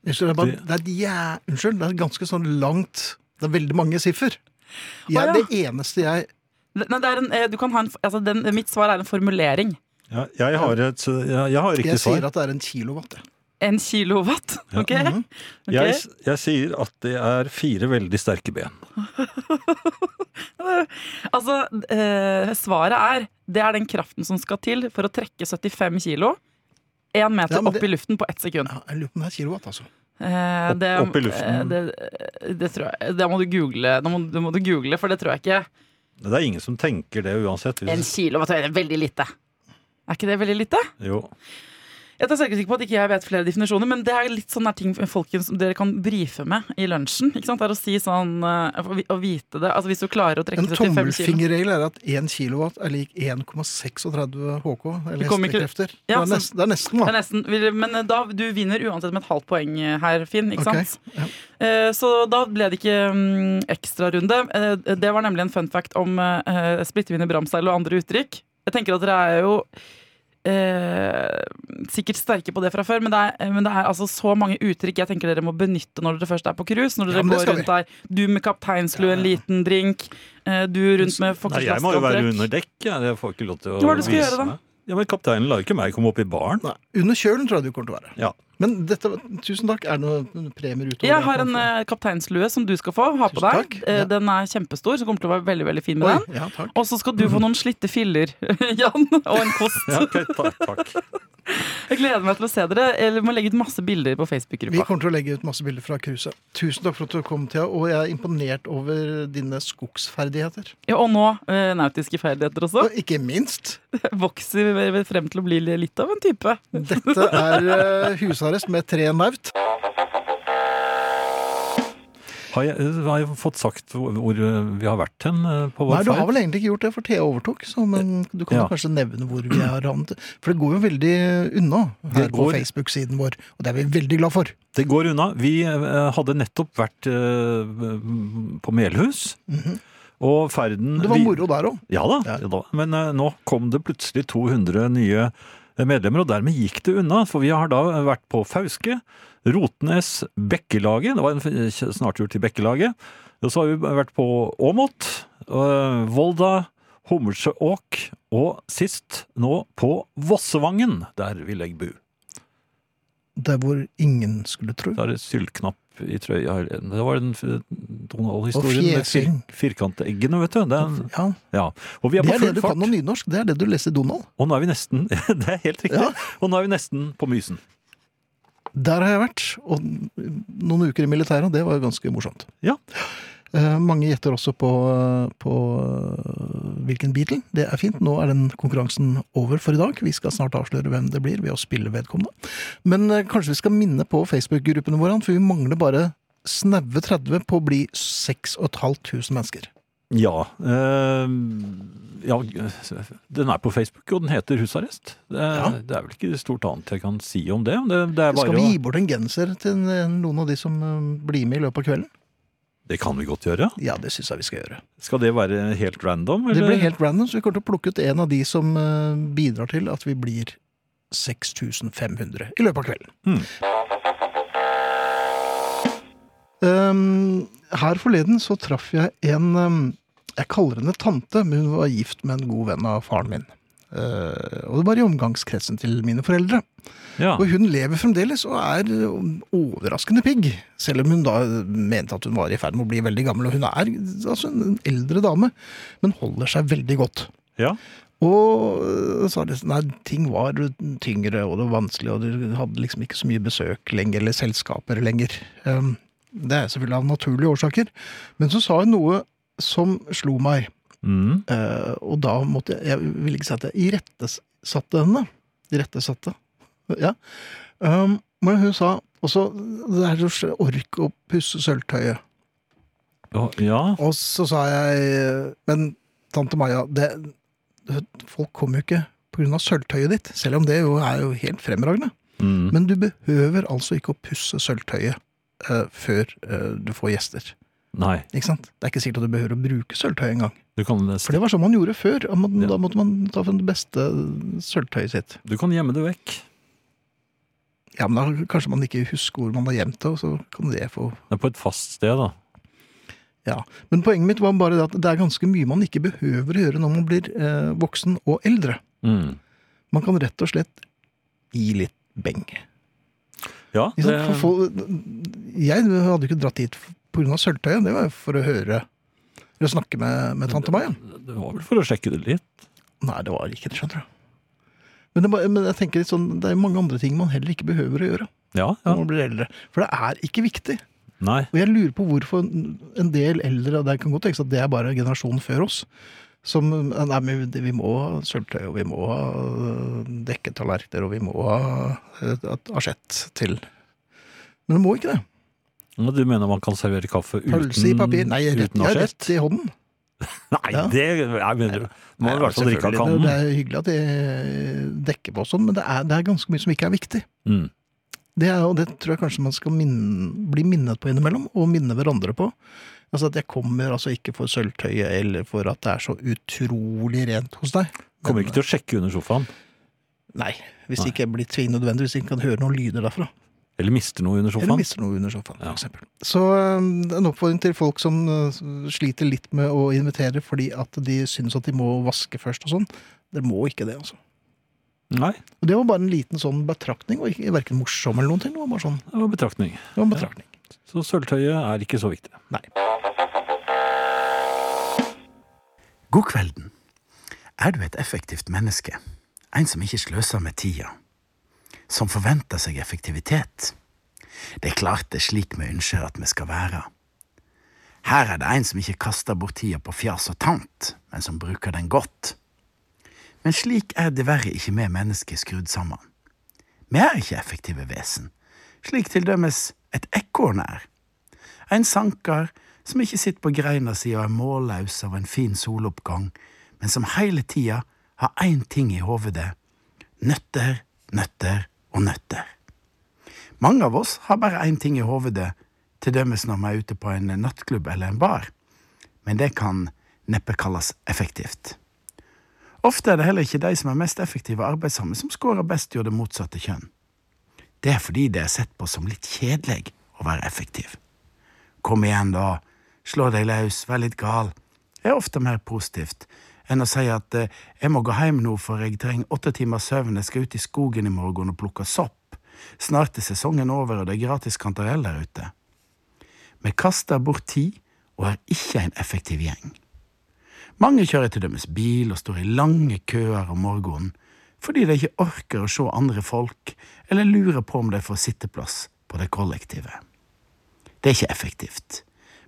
[SPEAKER 2] Unnskyld, det er, bare, det, er, et jæ- unnskyld, det er et ganske sånn langt Det er veldig mange siffer. Jeg er
[SPEAKER 4] Å, ja.
[SPEAKER 2] det eneste jeg
[SPEAKER 4] Det- Nei, det er en, eh, du kan ha en, f- altså den, mitt svar er en formulering.
[SPEAKER 3] Ja, jeg har et jeg, jeg har riktig
[SPEAKER 2] Jeg sier
[SPEAKER 3] svar.
[SPEAKER 2] at det er en kilowatt. jeg.
[SPEAKER 4] En kilowatt.
[SPEAKER 3] Ja.
[SPEAKER 4] Ok?
[SPEAKER 2] Mhm.
[SPEAKER 4] Ok.
[SPEAKER 3] Jeg, s- jeg sier at det er fire veldig sterke ben.
[SPEAKER 4] Altså, eh, svaret er det er den kraften som skal til for å trekke 75 kilo én meter
[SPEAKER 2] Ja, men det-
[SPEAKER 4] opp i luften på ett sekund.
[SPEAKER 2] Ja, jeg lurer på om det er kilowatt, altså.
[SPEAKER 4] Eh,
[SPEAKER 3] Opp-
[SPEAKER 4] det-
[SPEAKER 3] opp i luften.
[SPEAKER 4] eh, Det, det tror jeg Det må du google, det må, det må du google for det tror jeg ikke.
[SPEAKER 3] Det er ingen som tenker det uansett.
[SPEAKER 4] En
[SPEAKER 3] Hvis,
[SPEAKER 4] kilo vet du, er veldig lite. Er ikke det veldig lite?
[SPEAKER 3] jo.
[SPEAKER 4] Jeg Jeg er sikkert sikker på at ikke jeg vet flere definisjoner, men det er litt sånn der ting folkens, dere kan brife med i lunsjen. ikke sant? Det er å si sånn eh, å vi- Å vite det. Altså Hvis du klarer å trekke
[SPEAKER 2] En
[SPEAKER 4] det til fem kilo.
[SPEAKER 2] tommelfingerregel er at 1 kilowatt er lik 1,36 HK, eller
[SPEAKER 4] Det kommer ikke-
[SPEAKER 2] hestekrefter.
[SPEAKER 4] Ja,
[SPEAKER 2] det, er nesten, det er nesten,
[SPEAKER 4] Det er
[SPEAKER 2] da.
[SPEAKER 4] nesten, vil- men eh, da, du vinner uansett med et halvt poeng eh, her, Finn. ikke
[SPEAKER 2] Ok,
[SPEAKER 4] sant?
[SPEAKER 2] ja.
[SPEAKER 4] Eh, Så da ble det ikke mm, ekstrarunde. Eh, Det var nemlig en fun fact om eh, splittvinner, bramseil og andre uttrykk. Jeg tenker at dere er jo eh, sikkert sterke på det fra før, men det, er, men det er altså så mange uttrykk jeg tenker dere må benytte når dere først er på cruise. Når
[SPEAKER 2] Ja,
[SPEAKER 4] dere
[SPEAKER 2] men det
[SPEAKER 4] går
[SPEAKER 2] skal
[SPEAKER 4] rundt der. Du med kapteinslue, en liten drink. eh, Du rundt med
[SPEAKER 3] Nei, jeg må jo være
[SPEAKER 4] fokkerslastantrekk.
[SPEAKER 3] under dekk. Jeg, jeg får ikke lov til å
[SPEAKER 4] Hva er det du skal
[SPEAKER 3] vise
[SPEAKER 4] gjøre da?
[SPEAKER 3] meg. Ja, men Kapteinen lar jo ikke meg komme opp i baren.
[SPEAKER 2] Nei, under kjølen tror jeg du kommer til å være.
[SPEAKER 3] Ja.
[SPEAKER 2] Men dette, var- tusen takk. Er det noen premier utover?
[SPEAKER 4] Jeg har
[SPEAKER 2] det?
[SPEAKER 4] en eh, kapteinslue som du skal få. Ha på
[SPEAKER 2] Tusen
[SPEAKER 4] deg.
[SPEAKER 2] takk.
[SPEAKER 4] Eh,
[SPEAKER 2] Ja.
[SPEAKER 4] Den er kjempestor, så du kommer til å være veldig veldig fin med
[SPEAKER 2] Oi,
[SPEAKER 4] den.
[SPEAKER 2] ja, takk.
[SPEAKER 4] Og så skal du få noen slitte filler, Jan, og en kost.
[SPEAKER 3] Ja, ok, takk, takk.
[SPEAKER 4] Jeg gleder meg til å se dere. Eller må legge ut masse bilder på
[SPEAKER 2] Vi
[SPEAKER 4] Facebook-gruppa.
[SPEAKER 2] kommer til å legge ut masse bilder fra cruiset. Tusen takk for at du kom, Thea. Og jeg er imponert over dine skogsferdigheter.
[SPEAKER 4] Ja, og nå eh, nautiske ferdigheter også.
[SPEAKER 2] Og ikke minst,
[SPEAKER 4] Vokser vi vel frem til å bli litt av en type.
[SPEAKER 2] dette er eh, husarrest med tre naut.
[SPEAKER 3] Har jeg, har jeg fått sagt hvor, hvor vi har vært hen eh,
[SPEAKER 2] Nei,
[SPEAKER 3] på vår
[SPEAKER 2] du har
[SPEAKER 3] ferd?
[SPEAKER 2] vel egentlig ikke gjort det, for Thea overtok. Så, men du kan
[SPEAKER 3] Ja.
[SPEAKER 2] jo kanskje nevne hvor vi har havnet. For det går jo veldig unna her
[SPEAKER 3] Det
[SPEAKER 2] på
[SPEAKER 3] går-
[SPEAKER 2] Facebook-siden vår, og det er vi veldig glad for.
[SPEAKER 3] Det går unna. Vi eh, hadde nettopp vært eh, på Melhus. Og ferden
[SPEAKER 2] Det var
[SPEAKER 3] vi-
[SPEAKER 2] moro der òg.
[SPEAKER 3] Ja da,
[SPEAKER 2] Ja.
[SPEAKER 3] ja da. men eh, nå kom det plutselig 200 nye eh, medlemmer, og dermed gikk det unna. For vi har da eh, vært på Fauske, Rotnes, Bekkelaget. Det var en f- snartur til Bekkelaget. Og så har vi vært på Åmot, eh, Volda, Hommersåk, og sist nå på Vossevangen, der vi legger bu.
[SPEAKER 2] Der hvor ingen skulle tro.
[SPEAKER 3] Da er det sylknapp i trøya. Det var den f- Donald-historien med fir
[SPEAKER 2] fjesing.
[SPEAKER 3] firkanteggene, vet du. Det er,
[SPEAKER 2] Ja,
[SPEAKER 3] ja. Og vi er
[SPEAKER 2] det
[SPEAKER 3] på
[SPEAKER 2] er det
[SPEAKER 3] full
[SPEAKER 2] du kan
[SPEAKER 3] fart.
[SPEAKER 2] om nynorsk. Det er det du leser i Donald.
[SPEAKER 3] Og nå er vi nesten Det er helt riktig.
[SPEAKER 2] Ja.
[SPEAKER 3] Og nå er vi nesten på Mysen.
[SPEAKER 2] Der har jeg vært, og noen uker i militæret, og det var jo ganske morsomt.
[SPEAKER 3] Ja.
[SPEAKER 2] Eh, mange gjetter også på, på eh, hvilken Beatle. Det er fint. Nå er den konkurransen over for i dag. Vi skal snart avsløre hvem det blir ved å spille vedkommende. Men eh, kanskje vi skal minne på Facebook-gruppene våre, for vi mangler bare snaue 30 på å bli 6500 mennesker.
[SPEAKER 3] Ja, eh, ja Den er på Facebook, og den heter Husarrest. Det er,
[SPEAKER 2] Ja.
[SPEAKER 3] det er vel ikke stort annet jeg kan si om det. Det, det, er bare
[SPEAKER 2] Skal vi gi
[SPEAKER 3] å,
[SPEAKER 2] bort en genser til noen av de som eh, blir med i løpet av kvelden?
[SPEAKER 3] det kan vi godt gjøre.
[SPEAKER 2] Ja, det syns jeg vi skal gjøre.
[SPEAKER 3] Skal det være helt random?
[SPEAKER 2] Det
[SPEAKER 3] eller?
[SPEAKER 2] blir helt random, så vi kommer til å plukke ut en av de som eh, bidrar til at vi blir 6500 i løpet av kvelden.
[SPEAKER 3] Mm.
[SPEAKER 2] Um, her forleden så traff jeg en um, Jeg kaller henne tante, men hun var gift med en god venn av faren min. Eh, og det var i omgangskretsen til mine foreldre.
[SPEAKER 3] Ja.
[SPEAKER 2] Og hun lever fremdeles og er um, overraskende pigg. Selv om hun da eh, mente at hun var i ferd med å bli veldig gammel. Og hun er altså en eldre dame, men holder seg veldig godt.
[SPEAKER 3] ja.
[SPEAKER 2] Og så er det sånn, nei, ting var tyngre, og det var vanskelig, og du hadde liksom ikke så mye besøk lenger, eller selskaper lenger. Um, Det er selvfølgelig av naturlige årsaker. Men så sa hun noe som slo meg,
[SPEAKER 3] Mm.
[SPEAKER 2] eh, og da måtte jeg Jeg vil ikke si at jeg irettesatte henne. Irettesatte. Ja. Um, Men hun sa også det er så ork å pusse sølvtøyet.
[SPEAKER 3] Og, ja.
[SPEAKER 2] Og så sa jeg Men tante Maja, det, folk kommer jo ikke pga. sølvtøyet ditt, selv om det jo er jo helt fremragende.
[SPEAKER 3] Mm.
[SPEAKER 2] Men du behøver altså ikke å pusse sølvtøyet eh, før eh, du får gjester.
[SPEAKER 3] Nei.
[SPEAKER 2] Ikke sant? Det er ikke sikkert at du behøver å bruke sølvtøy engang.
[SPEAKER 3] Du kan,
[SPEAKER 2] For det var sånn man gjorde før. og Man,
[SPEAKER 3] Ja.
[SPEAKER 2] Da måtte man ta frem det beste sølvtøyet sitt.
[SPEAKER 3] du kan gjemme det vekk.
[SPEAKER 2] Ja, men da kanskje man ikke husker hvor man har gjemt det, og så kan det få
[SPEAKER 3] Det er på et fast sted, da.
[SPEAKER 2] Ja, Men poenget mitt var bare det at det er ganske mye man ikke behøver å gjøre når man blir eh, voksen og eldre.
[SPEAKER 3] Mm.
[SPEAKER 2] Man kan rett og slett gi litt beng.
[SPEAKER 3] Ja,
[SPEAKER 2] Ikke sant? For folk- jeg hadde jo ikke dratt dit pga. sølvtøyet, det var jo for å høre Eller snakke med, med tante Maja.
[SPEAKER 3] det var vel for å sjekke det litt.
[SPEAKER 2] Nei, det var ikke det, skjønner du. Men, det, bare- men jeg tenker litt sånn, det er jo mange andre ting man heller ikke behøver å gjøre
[SPEAKER 3] Ja,
[SPEAKER 2] når
[SPEAKER 3] ja.
[SPEAKER 2] man blir eldre. For det er ikke viktig.
[SPEAKER 3] Nei.
[SPEAKER 2] Og jeg lurer på hvorfor en del eldre og Det kan godt tenkes at det er bare generasjonen før oss. Som eh, Nei, men vi må ha sølvtøy, og vi må ha øh, dekketallerkener, og vi må ha øh, et asjett til. Men du må ikke det.
[SPEAKER 3] Og Du mener man kan servere kaffe uten
[SPEAKER 2] Pølse i papir. Nei, rett,
[SPEAKER 3] uten
[SPEAKER 2] ja,
[SPEAKER 3] asjett?
[SPEAKER 2] rett i hånden.
[SPEAKER 3] Nei,
[SPEAKER 2] Ja.
[SPEAKER 3] det jeg mener du. Man må i
[SPEAKER 2] Nei,
[SPEAKER 3] hvert fall drikke av
[SPEAKER 2] selvfølgelig,
[SPEAKER 3] kannen.
[SPEAKER 2] Det, det er hyggelig at de dekker på og sånn, men det er, det er ganske mye som ikke er viktig.
[SPEAKER 3] Mm.
[SPEAKER 2] Det, er, og det tror jeg kanskje man skal minne, bli minnet på innimellom, og minne hverandre på. Altså at jeg kommer altså ikke for sølvtøyet eller for at det er så utrolig rent hos deg.
[SPEAKER 3] Kommer ikke til å sjekke under sofaen.
[SPEAKER 2] Nei, hvis det
[SPEAKER 3] Nei.
[SPEAKER 2] ikke blir tvingende nødvendig, hvis jeg ikke kan høre noen lyder derfra.
[SPEAKER 3] Eller mister noe under
[SPEAKER 2] Eller
[SPEAKER 3] sofaen.
[SPEAKER 2] mister noe under sofaen,
[SPEAKER 3] Ja.
[SPEAKER 2] for eksempel. Så øhm, en oppfordring til folk som øh, sliter litt med å invitere fordi at de syns at de må vaske først og sånn. Dere må ikke det, altså.
[SPEAKER 3] Nei,
[SPEAKER 2] Og det var bare en liten sånn betraktning, og ikke verken morsom eller noen ting. Det var bare sånn,
[SPEAKER 3] det var betraktning.
[SPEAKER 2] det var en betraktning.
[SPEAKER 3] Så sølvtøyet er ikke så viktig.
[SPEAKER 5] God kvelden. Er du et effektivt menneske? En som ikke sløser med tida? Som forventer seg effektivitet? Det er klart det er slik vi ønsker at vi skal være. Her er det en som ikke kaster bort tida på fjas og tant, men som bruker den godt. Men slik er diverre ikke vi mennesker skrudd sammen. Vi er ikke effektive vesen, slik til dømes et ekorn er. En sanker som ikke sitter på greina si og er målløs av en fin soloppgang, men som hele tida har én ting i hovedet. Nøtter, nøtter og nøtter. Mange av oss har bare én ting i hovedet, til dømes når vi er ute på en nattklubb eller en bar, men det kan neppe kalles effektivt. Ofte er det heller ikke de som er mest effektive og arbeidsomme, som scorer best hos det motsatte kjønn. Det er fordi det er sett på som litt kjedelig å være effektiv. Kom igjen, da. Slå deg løs, vær litt gal. Det er ofte mer positivt enn å si at eh, jeg må gå hjem nå, for jeg trenger åtte timer søvn, jeg skal ut i skogen i morgen og plukke sopp. Snart er sesongen over, og det er gratis kantarell der ute. Vi kaster bort tid og er ikke en effektiv gjeng. Mange kjører til dømes bil og står i lange køer om morgenen fordi de ikke orker å se andre folk, eller lurer på om de får sitteplass på det kollektivet. Det er ikke effektivt.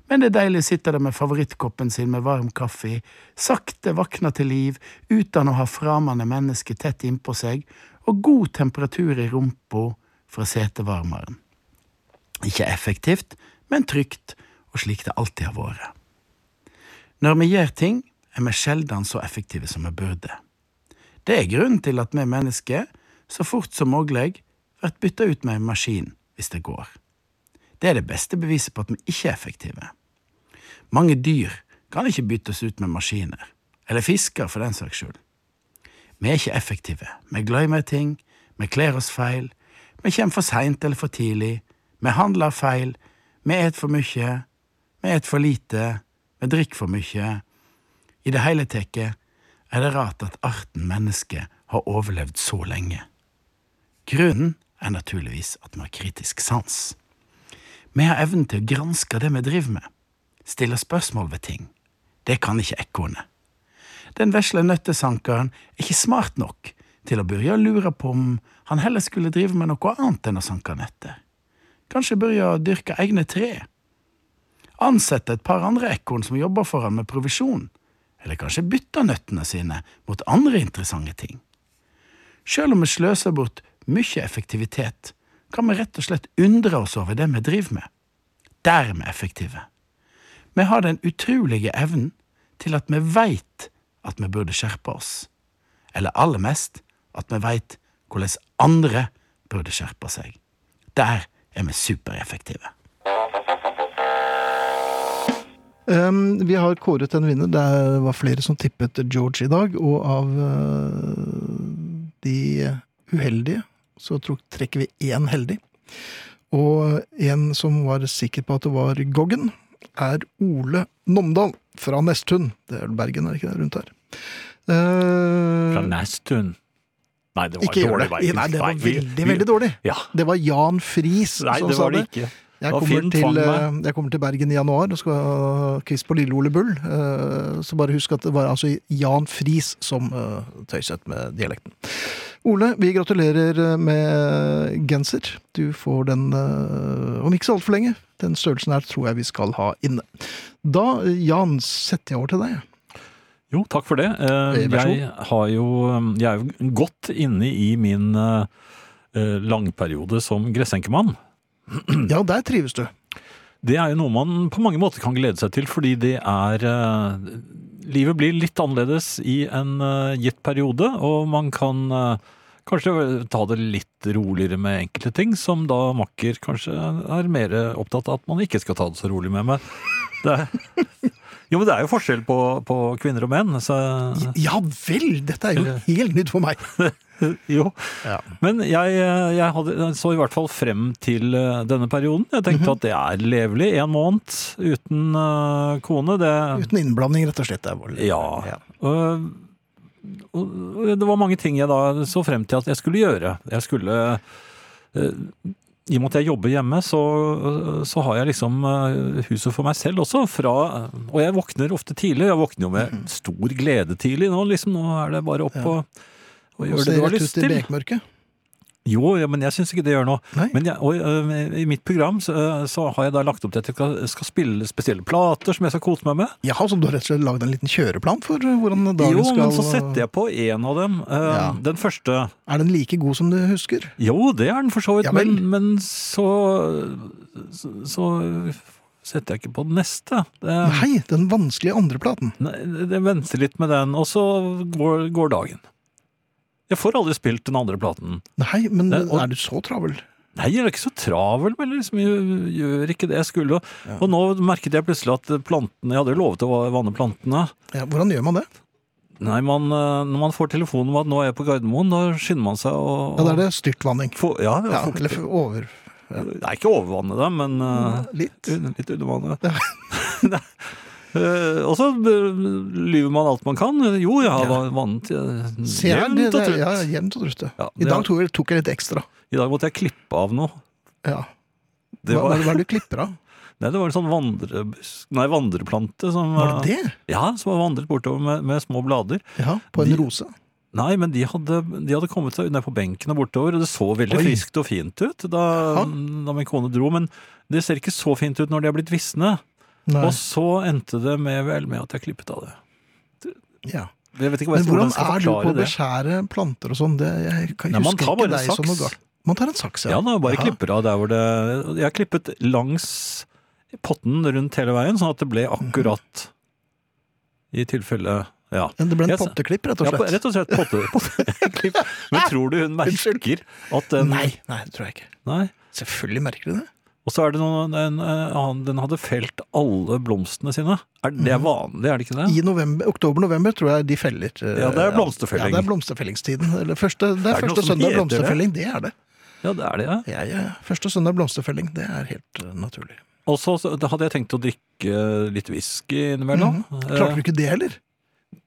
[SPEAKER 5] Men det er deilig å sitte der med favorittkoppen sin med varm kaffe, i, sakte våkne til liv uten å ha framande mennesker tett innpå seg, og god temperatur i rumpa fra setevarmeren. Ikke effektivt, men trygt, og slik det alltid har vært. Når vi gjør ting, er vi sjelden så effektive som vi burde. Det er grunnen til at vi mennesker, så fort som mulig, blir bytta ut med en maskin, hvis det går. Det er det beste beviset på at vi ikke er effektive. Mange dyr kan ikke byttes ut med maskiner, eller fisker for den saks skyld. Vi er ikke effektive, vi glemmer ting, vi kler oss feil, vi kommer for seint eller for tidlig, vi handler feil, vi et for mye, vi et for lite, vi drikker for mye. I det hele tatt er det rart at arten menneske har overlevd så lenge. Grunnen er naturligvis at vi har kritisk sans. Vi har evnen til å granske det vi driver med, stille spørsmål ved ting. Det kan ikke ekornet. Den vesle nøttesankeren er ikke smart nok til å begynne å lure på om han heller skulle drive med noe annet enn å sanke nøtter. Kanskje begynne å dyrke egne tre? Ansette et par andre ekorn som jobber for han med provisjon? Eller kanskje bytte nøttene sine mot andre interessante ting? Selv om vi sløser bort mye effektivitet, kan vi rett og slett undre oss over det vi driver med. Der er vi effektive. Vi har den utrolige evnen til at vi veit at vi burde skjerpe oss. Eller aller mest at vi veit hvordan andre burde skjerpe seg. Der er vi supereffektive.
[SPEAKER 2] Um, vi har kåret en vinner. Det var flere som tippet George i dag, og av øh, de uheldige så tro- trekker vi én heldig. Og en som var sikker på at det var Goggen, er Ole Nomdal fra Nesttun. Det er vel Bergen, er det ikke det? Rundt her.
[SPEAKER 3] Fra
[SPEAKER 2] Uh,
[SPEAKER 3] Næstun. Nei, det var
[SPEAKER 2] ikke gjør
[SPEAKER 3] dårlig
[SPEAKER 2] det. Nei, det var veldig, veldig dårlig.
[SPEAKER 3] Ja.
[SPEAKER 2] Det var Jan Friis
[SPEAKER 3] Nei,
[SPEAKER 2] som
[SPEAKER 3] det
[SPEAKER 2] sa
[SPEAKER 3] var
[SPEAKER 2] det.
[SPEAKER 3] det ikke.
[SPEAKER 2] Jeg
[SPEAKER 3] Det var
[SPEAKER 2] kommer,
[SPEAKER 3] fint,
[SPEAKER 2] til,
[SPEAKER 3] fang
[SPEAKER 2] eh, jeg kommer til Bergen i januar og skal ha quiz på Lille Ole Bull. Eh, Så bare husk at det var altså Jan Friis som eh, tøyset med dialekten. Ole, vi gratulerer eh, med genser. Du får den eh, om ikke så altfor lenge. Den størrelsen her tror jeg vi skal ha inne. Da, Jan, setter jeg over til deg.
[SPEAKER 3] Jo, takk for det. Eh,
[SPEAKER 2] Eh, vær så
[SPEAKER 3] Jeg, har jo, eh, jeg er jo godt inne i min eh, eh, langperiode som gressenkemann. Mm.
[SPEAKER 2] Ja, der trives du.
[SPEAKER 3] Det er jo noe man på mange måter kan glede seg til, fordi det er eh, Livet blir litt annerledes i en eh, gitt periode, og man kan eh, kanskje ta det litt roligere med enkelte ting, som da makker kanskje er mer opptatt av at man ikke skal ta det så rolig med. Men det er, jo, men det er jo forskjell på, på kvinner og menn. Så,
[SPEAKER 2] Ja vel! Dette er jo helt nytt for meg.
[SPEAKER 3] jo.
[SPEAKER 2] Ja.
[SPEAKER 3] Men jeg, jeg hadde, så i hvert fall frem til eh, denne perioden. Jeg
[SPEAKER 2] Mhm.
[SPEAKER 3] tenkte at det er levelig. En måned uten eh, kone, det
[SPEAKER 2] Uten innblanding, rett og slett. Det er voldelig.
[SPEAKER 3] Ja. Og- og det var mange ting jeg da så frem til at jeg skulle gjøre. Jeg skulle eh, I og med at jeg jobber hjemme, så, så har jeg liksom eh, huset for meg selv også. Fra, og jeg våkner ofte tidlig. Jeg våkner jo med stor glede tidlig nå, liksom. Nå er det bare opp
[SPEAKER 2] Mhm. Ja.
[SPEAKER 3] og,
[SPEAKER 2] Og
[SPEAKER 3] og gjøre det
[SPEAKER 2] ser
[SPEAKER 3] du har
[SPEAKER 2] rett
[SPEAKER 3] lyst
[SPEAKER 2] ut i
[SPEAKER 3] til.
[SPEAKER 2] bekmørket.
[SPEAKER 3] Jo, ja, men jeg syns ikke det gjør noe.
[SPEAKER 2] Nei.
[SPEAKER 3] Men jeg, og, ø, I mitt program så, øh, så har jeg da lagt opp til at jeg skal, skal spille spesielle plater som jeg skal kose meg med.
[SPEAKER 2] Jaha, så du har rett og slett lagd en liten kjøreplan for hvordan dagen
[SPEAKER 3] Jo,
[SPEAKER 2] skal
[SPEAKER 3] men så setter jeg på én av dem. Ø,
[SPEAKER 2] Ja.
[SPEAKER 3] Den første
[SPEAKER 2] Er den like god som du husker?
[SPEAKER 3] Jo, det er den for så vidt,
[SPEAKER 2] Ja vel.
[SPEAKER 3] men, men så, så Så setter jeg ikke på den neste. Det,
[SPEAKER 2] Nei, den vanskelige andreplaten.
[SPEAKER 3] nei, det venter litt med den, og så går, går dagen. Jeg får aldri spilt den andre platen.
[SPEAKER 2] Nei, men
[SPEAKER 3] Det- og-
[SPEAKER 2] er du så travel?
[SPEAKER 3] Nei, jeg er ikke så travel, men liksom, jeg gjør ikke det jeg skulle. Og,
[SPEAKER 2] Ja.
[SPEAKER 3] og nå merket jeg plutselig at plantene Jeg hadde jo lovet å va- vanne plantene.
[SPEAKER 2] Ja, hvordan gjør man det?
[SPEAKER 3] Nei, man, eh, Når man får telefonen om at nå er jeg på Gardermoen, da skynder man seg å
[SPEAKER 2] Ja, da er det styrtvanning.
[SPEAKER 3] Få- ja,
[SPEAKER 2] Ja,
[SPEAKER 3] fuktig.
[SPEAKER 2] eller over
[SPEAKER 3] Nei, ikke overvanne dem, men eh,
[SPEAKER 2] litt.
[SPEAKER 3] un- litt undervanne.
[SPEAKER 2] Ja.
[SPEAKER 3] Eh, og så eh, lyver man alt man kan. Jo, jeg har va- vannet eh,
[SPEAKER 2] Se her,
[SPEAKER 3] jevnt
[SPEAKER 2] det,
[SPEAKER 3] og
[SPEAKER 2] det,
[SPEAKER 3] trutt.
[SPEAKER 2] ja, jevnt og trutt. det.
[SPEAKER 3] Ja,
[SPEAKER 2] I
[SPEAKER 3] det
[SPEAKER 2] dag
[SPEAKER 3] er-
[SPEAKER 2] tok jeg, tok jeg litt ekstra.
[SPEAKER 3] I dag måtte jeg klippe av noe.
[SPEAKER 2] Ja.
[SPEAKER 3] Det
[SPEAKER 2] Hva, hva
[SPEAKER 3] var,
[SPEAKER 2] er det du klipper av?
[SPEAKER 3] nei, det var en sånn vandrebusk Nei, vandreplante som
[SPEAKER 2] Var
[SPEAKER 3] eh,
[SPEAKER 2] det det?
[SPEAKER 3] Ja, som har vandret bortover med, med små blader.
[SPEAKER 2] Ja, på en
[SPEAKER 3] de-
[SPEAKER 2] rose.
[SPEAKER 3] Nei, men de hadde, de hadde kommet seg ned på benken og bortover, og det så veldig
[SPEAKER 2] Oi.
[SPEAKER 3] friskt og fint ut da, da min kone dro, men det ser ikke så fint ut når de er blitt visne.
[SPEAKER 2] Nei.
[SPEAKER 3] Og så endte det med, vel med at jeg klippet av det.
[SPEAKER 2] Ja.
[SPEAKER 3] Jeg vet ikke hva
[SPEAKER 2] Men
[SPEAKER 3] jeg skal,
[SPEAKER 2] hvordan
[SPEAKER 3] hvordan jeg skal
[SPEAKER 2] er du på
[SPEAKER 3] forklare
[SPEAKER 2] å
[SPEAKER 3] det.
[SPEAKER 2] beskjære planter og sånn? Det, jeg kan,
[SPEAKER 3] Nei, man
[SPEAKER 2] husker
[SPEAKER 3] tar
[SPEAKER 2] ikke
[SPEAKER 3] bare
[SPEAKER 2] deg
[SPEAKER 3] saks.
[SPEAKER 2] som noe galt. Man tar en saks,
[SPEAKER 3] Ja, da bare
[SPEAKER 2] Ja.
[SPEAKER 3] klipper av der hvor det Jeg har klippet langs potten rundt hele veien, sånn at det ble akkurat i tilfelle Ja.
[SPEAKER 2] Men Det ble en
[SPEAKER 3] Jeg-
[SPEAKER 2] potteklipp, rett og
[SPEAKER 3] Ja, på-
[SPEAKER 2] slett.
[SPEAKER 3] rett og slett potte, potteklipp. Men tror du hun merker at den
[SPEAKER 2] Nei, nei, det tror jeg ikke.
[SPEAKER 3] Nei.
[SPEAKER 2] Selvfølgelig merker de det.
[SPEAKER 3] Og så er det noen, en, eh, annen, den hadde felt alle blomstene sine. Er det, det
[SPEAKER 2] Mhm.
[SPEAKER 3] er vanlig, er det ikke det?
[SPEAKER 2] I november, oktober-november tror jeg de feller. eh,
[SPEAKER 3] Ja, det er blomsterfelling.
[SPEAKER 2] Ja, det er blomsterfellingstiden. Eller første, det er,
[SPEAKER 3] Er det noe
[SPEAKER 2] første
[SPEAKER 3] som
[SPEAKER 2] søndag
[SPEAKER 3] heter det?
[SPEAKER 2] blomsterfelling, det er det.
[SPEAKER 3] Ja, det er det, ja.
[SPEAKER 2] Ja, ja. Første søndag blomsterfelling, det er helt eh, naturlig.
[SPEAKER 3] Og så så- da hadde jeg tenkt å drikke litt whisky innimellom.
[SPEAKER 2] Klarte
[SPEAKER 3] Eh,
[SPEAKER 2] Mhm. du ikke det heller?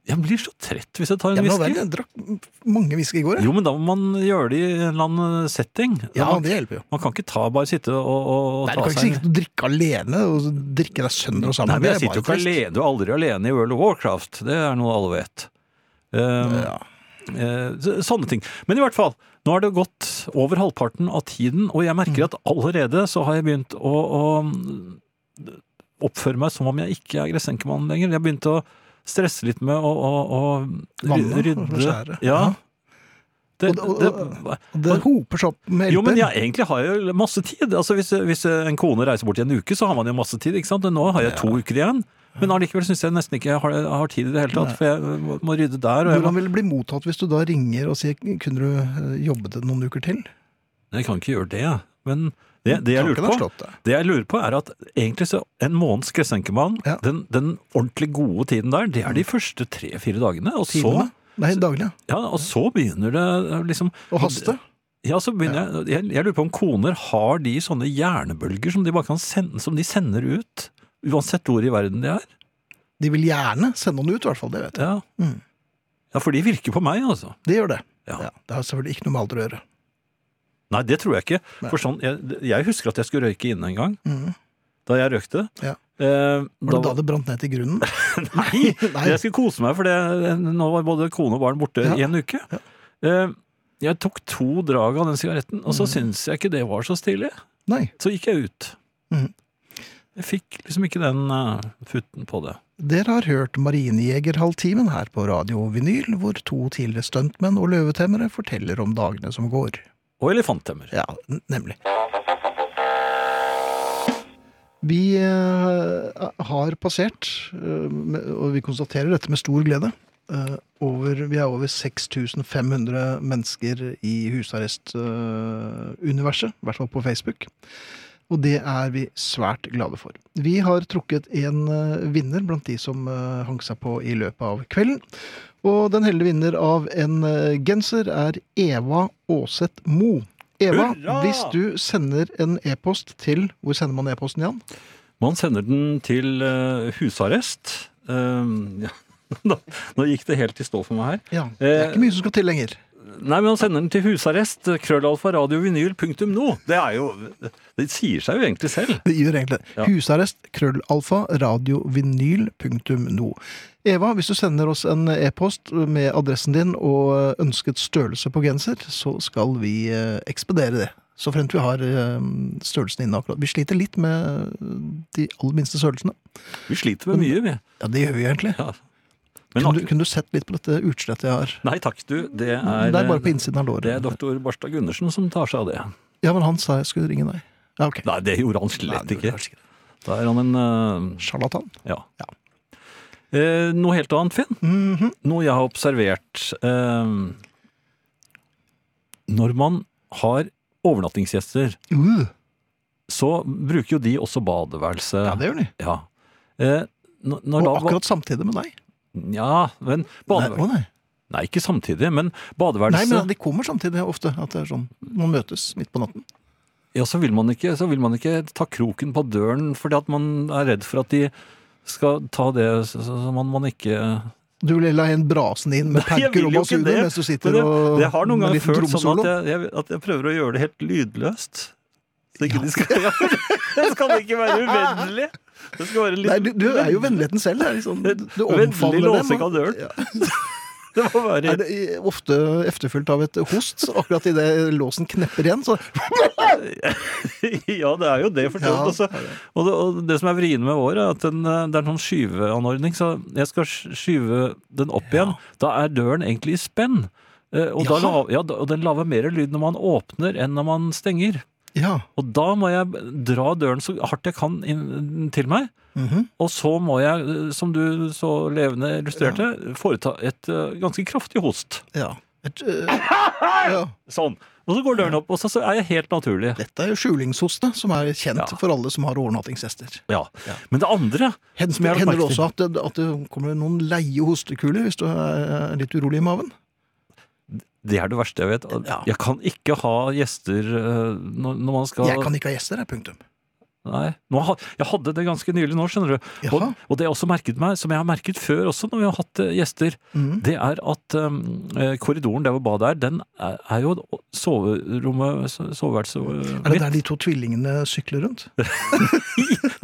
[SPEAKER 3] Jeg blir så trett hvis jeg tar en
[SPEAKER 2] Ja, men vel,
[SPEAKER 3] whisky.
[SPEAKER 2] jeg drakk mange whisky i går. jeg.
[SPEAKER 3] Jo, men da må man gjøre det i en eller annen setting. Da
[SPEAKER 2] Ja,
[SPEAKER 3] man,
[SPEAKER 2] det altså hjelper jo.
[SPEAKER 3] man kan ikke ta, bare sitte og, og, og
[SPEAKER 2] Nei, du
[SPEAKER 3] ta
[SPEAKER 2] kan ikke
[SPEAKER 3] seg en-
[SPEAKER 2] sitte og drikke alene og så drikke deg sønder og sammen.
[SPEAKER 3] Nei, men jeg
[SPEAKER 2] Det er
[SPEAKER 3] sitter jo ikke
[SPEAKER 2] bare trist.
[SPEAKER 3] alene. Du er aldri alene i World of Warcraft. Det er noe alle vet. Um,
[SPEAKER 2] Ja.
[SPEAKER 3] Eh, så- Sånne ting. Men i hvert fall, nå har det gått over halvparten av tiden, og jeg
[SPEAKER 2] Mm.
[SPEAKER 3] merker at allerede så har jeg begynt å, å mm, oppføre meg som om jeg ikke er gressenkemann lenger. Jeg har begynt å stresse litt med å, å, å ry-
[SPEAKER 2] Vanne og
[SPEAKER 3] rydde.
[SPEAKER 2] skjære.
[SPEAKER 3] Ja. Det,
[SPEAKER 2] Og-
[SPEAKER 3] det,
[SPEAKER 2] og- Og det hoper seg opp med
[SPEAKER 3] jo, men
[SPEAKER 2] LP-en.
[SPEAKER 3] jeg, egentlig har jeg jo masse tid. Altså, hvis, hvis en kone reiser bort i en uke, så har man jo masse tid. ikke sant? Men Nå har jeg to uker igjen. Men allikevel syns jeg nesten ikke jeg har, har tid i det hele tatt, for jeg må, må rydde der. Og jeg må
[SPEAKER 2] Hvordan vil det bli mottatt hvis du da ringer og sier kunne du eh, jobbe det noen uker til?
[SPEAKER 3] Nei, Jeg kan ikke gjøre det, jeg. men det, det, jeg
[SPEAKER 2] Tanken
[SPEAKER 3] lurer
[SPEAKER 2] har
[SPEAKER 3] på,
[SPEAKER 2] slått deg.
[SPEAKER 3] det jeg lurer på, er at egentlig så en måneds gressenkemann,
[SPEAKER 2] Ja.
[SPEAKER 3] den, den ordentlig gode tiden der, det er de første tre-fire dagene. Og så,
[SPEAKER 2] Timene? Nei, daglig. ja.
[SPEAKER 3] ja, og så begynner det liksom
[SPEAKER 2] Og haste.
[SPEAKER 3] Ja, så begynner jeg, jeg Jeg lurer på om koner har de sånne hjernebølger som de bare kan sende, som de sender ut? Uansett hvor i verden de er?
[SPEAKER 2] De vil gjerne sende noen ut, i hvert fall. Det vet jeg.
[SPEAKER 3] Ja.
[SPEAKER 2] Mm.
[SPEAKER 3] ja, for de virker på meg, altså.
[SPEAKER 2] De gjør det.
[SPEAKER 3] Ja.
[SPEAKER 2] Ja, det har selvfølgelig ikke noe med alder å gjøre.
[SPEAKER 3] Nei, det tror jeg ikke.
[SPEAKER 2] Nei.
[SPEAKER 3] For sånn, jeg, jeg husker at jeg skulle røyke inne en gang,
[SPEAKER 2] Mhm.
[SPEAKER 3] da jeg røykte.
[SPEAKER 2] Ja.
[SPEAKER 3] Eh,
[SPEAKER 2] Var det
[SPEAKER 3] da-
[SPEAKER 2] da det brant ned til grunnen?
[SPEAKER 3] Nei,
[SPEAKER 2] Nei.
[SPEAKER 3] jeg skulle kose meg, for det, nå var både kone og barn borte
[SPEAKER 2] Ja.
[SPEAKER 3] i en uke. Eh, Jeg tok to drag
[SPEAKER 2] Mm.
[SPEAKER 3] av den sigaretten, og så syntes jeg ikke det var så stilig.
[SPEAKER 2] Nei.
[SPEAKER 3] Så gikk jeg ut. Jeg fikk liksom ikke den eh, futten på det.
[SPEAKER 2] Dere har hørt Marinejegerhalvtimen her på Radio Vinyl, hvor to tidligere stuntmenn og løvetemmere forteller om dagene som går.
[SPEAKER 3] Og elefanttemmer.
[SPEAKER 2] Ja, n- nemlig. Vi eh, har passert, eh, med- og vi konstaterer dette med stor glede, eh, over, vi er over 6500 mennesker i husarrestuniverset, i hvert fall på Facebook. Og det er vi svært glade for. Vi har trukket en eh, vinner blant de som eh, hang seg på i løpet av kvelden. Og den heldige vinner av en eh, genser er Eva Åseth Mo. Eva,
[SPEAKER 3] Hurra!
[SPEAKER 2] hvis du sender en e-post til Hvor sender man e-posten, Jan?
[SPEAKER 3] Man sender den til eh, husarrest. Eh, ja. Nå nå gikk det helt i stå for meg her.
[SPEAKER 2] Ja, Det er ikke mye som skal til lenger.
[SPEAKER 3] Nei, men han sender den til husarrest. eh, Krøllalfa radiovinyl.no. Det er jo Det sier seg jo egentlig selv.
[SPEAKER 2] Det gjør egentlig det.
[SPEAKER 3] Ja.
[SPEAKER 2] Husarrest, krøllalfa, radiovinyl.no. Eva, hvis du sender oss en e-post med adressen din og ønsket størrelse på genser, så skal vi eh, ekspedere det. Så fremt vi har eh, størrelsen inne akkurat. Vi sliter litt med eh, de aller minste størrelsene.
[SPEAKER 3] Vi sliter med mye, vi.
[SPEAKER 2] Ja, det gjør vi egentlig.
[SPEAKER 3] Ja. Men
[SPEAKER 2] Kunne du,
[SPEAKER 3] ak
[SPEAKER 2] kunne du sett litt på dette utslettet jeg har?
[SPEAKER 3] Nei takk, du. Det
[SPEAKER 2] Det
[SPEAKER 3] er, eh,
[SPEAKER 2] er bare på innsiden av
[SPEAKER 3] det er
[SPEAKER 2] låret.
[SPEAKER 3] doktor Barstad Gundersen som tar seg av det.
[SPEAKER 2] Ja, men han sa jeg skulle ringe deg. Ja, ok.
[SPEAKER 3] Nei, det gjorde han
[SPEAKER 2] Nei,
[SPEAKER 3] slett
[SPEAKER 2] det gjorde
[SPEAKER 3] ikke.
[SPEAKER 2] jeg kanskje
[SPEAKER 3] Da er han en eh,
[SPEAKER 2] Sjarlatan.
[SPEAKER 3] Ja.
[SPEAKER 2] Ja.
[SPEAKER 3] Eh, noe helt annet, Finn.
[SPEAKER 2] Mhm.
[SPEAKER 3] Noe jeg har observert. Eh, når man har overnattingsgjester,
[SPEAKER 2] Uh,
[SPEAKER 3] så bruker jo de også badeværelse.
[SPEAKER 2] ja, det gjør de.
[SPEAKER 3] Ja. Eh, n-
[SPEAKER 2] Og
[SPEAKER 3] når da,
[SPEAKER 2] akkurat samtidig med deg.
[SPEAKER 3] Ja, men
[SPEAKER 2] Nei,
[SPEAKER 3] badeværelse
[SPEAKER 2] å, nei.
[SPEAKER 3] Nei, ikke samtidig, men
[SPEAKER 2] Nei,
[SPEAKER 3] badeværelse
[SPEAKER 2] men de kommer samtidig ofte. At det er sånn, Man møtes midt på natten.
[SPEAKER 3] Ja, så vil, man ikke, så vil man ikke ta kroken på døren fordi at man er redd for at de skal ta det s- s- som man, man ikke
[SPEAKER 2] Du vil la en brasen inn med
[SPEAKER 3] Nei, jeg
[SPEAKER 2] perker
[SPEAKER 3] vil
[SPEAKER 2] og
[SPEAKER 3] jo ikke
[SPEAKER 2] basuner
[SPEAKER 3] det.
[SPEAKER 2] mens du
[SPEAKER 3] Men
[SPEAKER 2] sitter
[SPEAKER 3] det,
[SPEAKER 2] og
[SPEAKER 3] det har noen
[SPEAKER 2] med
[SPEAKER 3] ganger
[SPEAKER 2] liten
[SPEAKER 3] følt sånn
[SPEAKER 2] trommesolo.
[SPEAKER 3] at jeg, jeg, at jeg prøver å gjøre det helt lydløst. Så ikke de skal Det skal ikke være uvennlig! Det skal være litt
[SPEAKER 2] Nei, du, du er jo vennligheten selv. Det er liksom, du
[SPEAKER 3] Vennlig
[SPEAKER 2] omfavner dem.
[SPEAKER 3] låsing av døren.
[SPEAKER 2] Ja.
[SPEAKER 3] Det må være
[SPEAKER 2] Er det i- ofte efterfulgt av et host, så akkurat idet låsen knepper igjen, så
[SPEAKER 3] Ja, det er jo det for så
[SPEAKER 2] Ja,
[SPEAKER 3] vidt. også. Og, det, og det som er vriene med vår, er at den, eh, det er en sånn skyveanordning. Så jeg skal sk- skyve den opp igjen. Da er døren egentlig i spenn. Eh, Og, da
[SPEAKER 2] Jaha.
[SPEAKER 3] la, ja, da- og den lager mer lyd når man åpner enn når man stenger.
[SPEAKER 2] Ja.
[SPEAKER 3] Og da må jeg dra døren så hardt jeg kan inn til meg.
[SPEAKER 2] mhm.
[SPEAKER 3] Og så må jeg, eh, som du så levende illustrerte, foreta et eh, ganske kraftig host.
[SPEAKER 2] ja. Et, øh, ja.
[SPEAKER 3] Sånn. Og så går døren opp, og så så er jeg helt naturlig.
[SPEAKER 2] Dette er jo skjulingshoste, som er kjent
[SPEAKER 3] Ja.
[SPEAKER 2] for alle som har overnattingsgjester.
[SPEAKER 3] Ja.
[SPEAKER 2] Ja.
[SPEAKER 3] Men det andre
[SPEAKER 2] Hender
[SPEAKER 3] Som jeg har
[SPEAKER 2] hender det
[SPEAKER 3] lagt merke til.
[SPEAKER 2] også at det, at det kommer noen leie hostekuler hvis du er litt urolig i maven?
[SPEAKER 3] Det er det verste jeg vet.
[SPEAKER 2] Ja.
[SPEAKER 3] Jeg kan ikke ha gjester eh, når, når man skal
[SPEAKER 2] Jeg kan ikke ha gjester, er punktum.
[SPEAKER 3] Nei. Nå, ha- jeg hadde det ganske nylig nå, skjønner du. Og,
[SPEAKER 2] Jaha.
[SPEAKER 3] og det jeg også merket meg, som jeg har merket før også når vi har hatt eh, gjester,
[SPEAKER 2] Mhm.
[SPEAKER 3] det er at eh, korridoren der hvor badet er, den er, er jo soverommet so- Soveværelset eh,
[SPEAKER 2] Er det
[SPEAKER 3] mitt.
[SPEAKER 2] der de to tvillingene sykler rundt?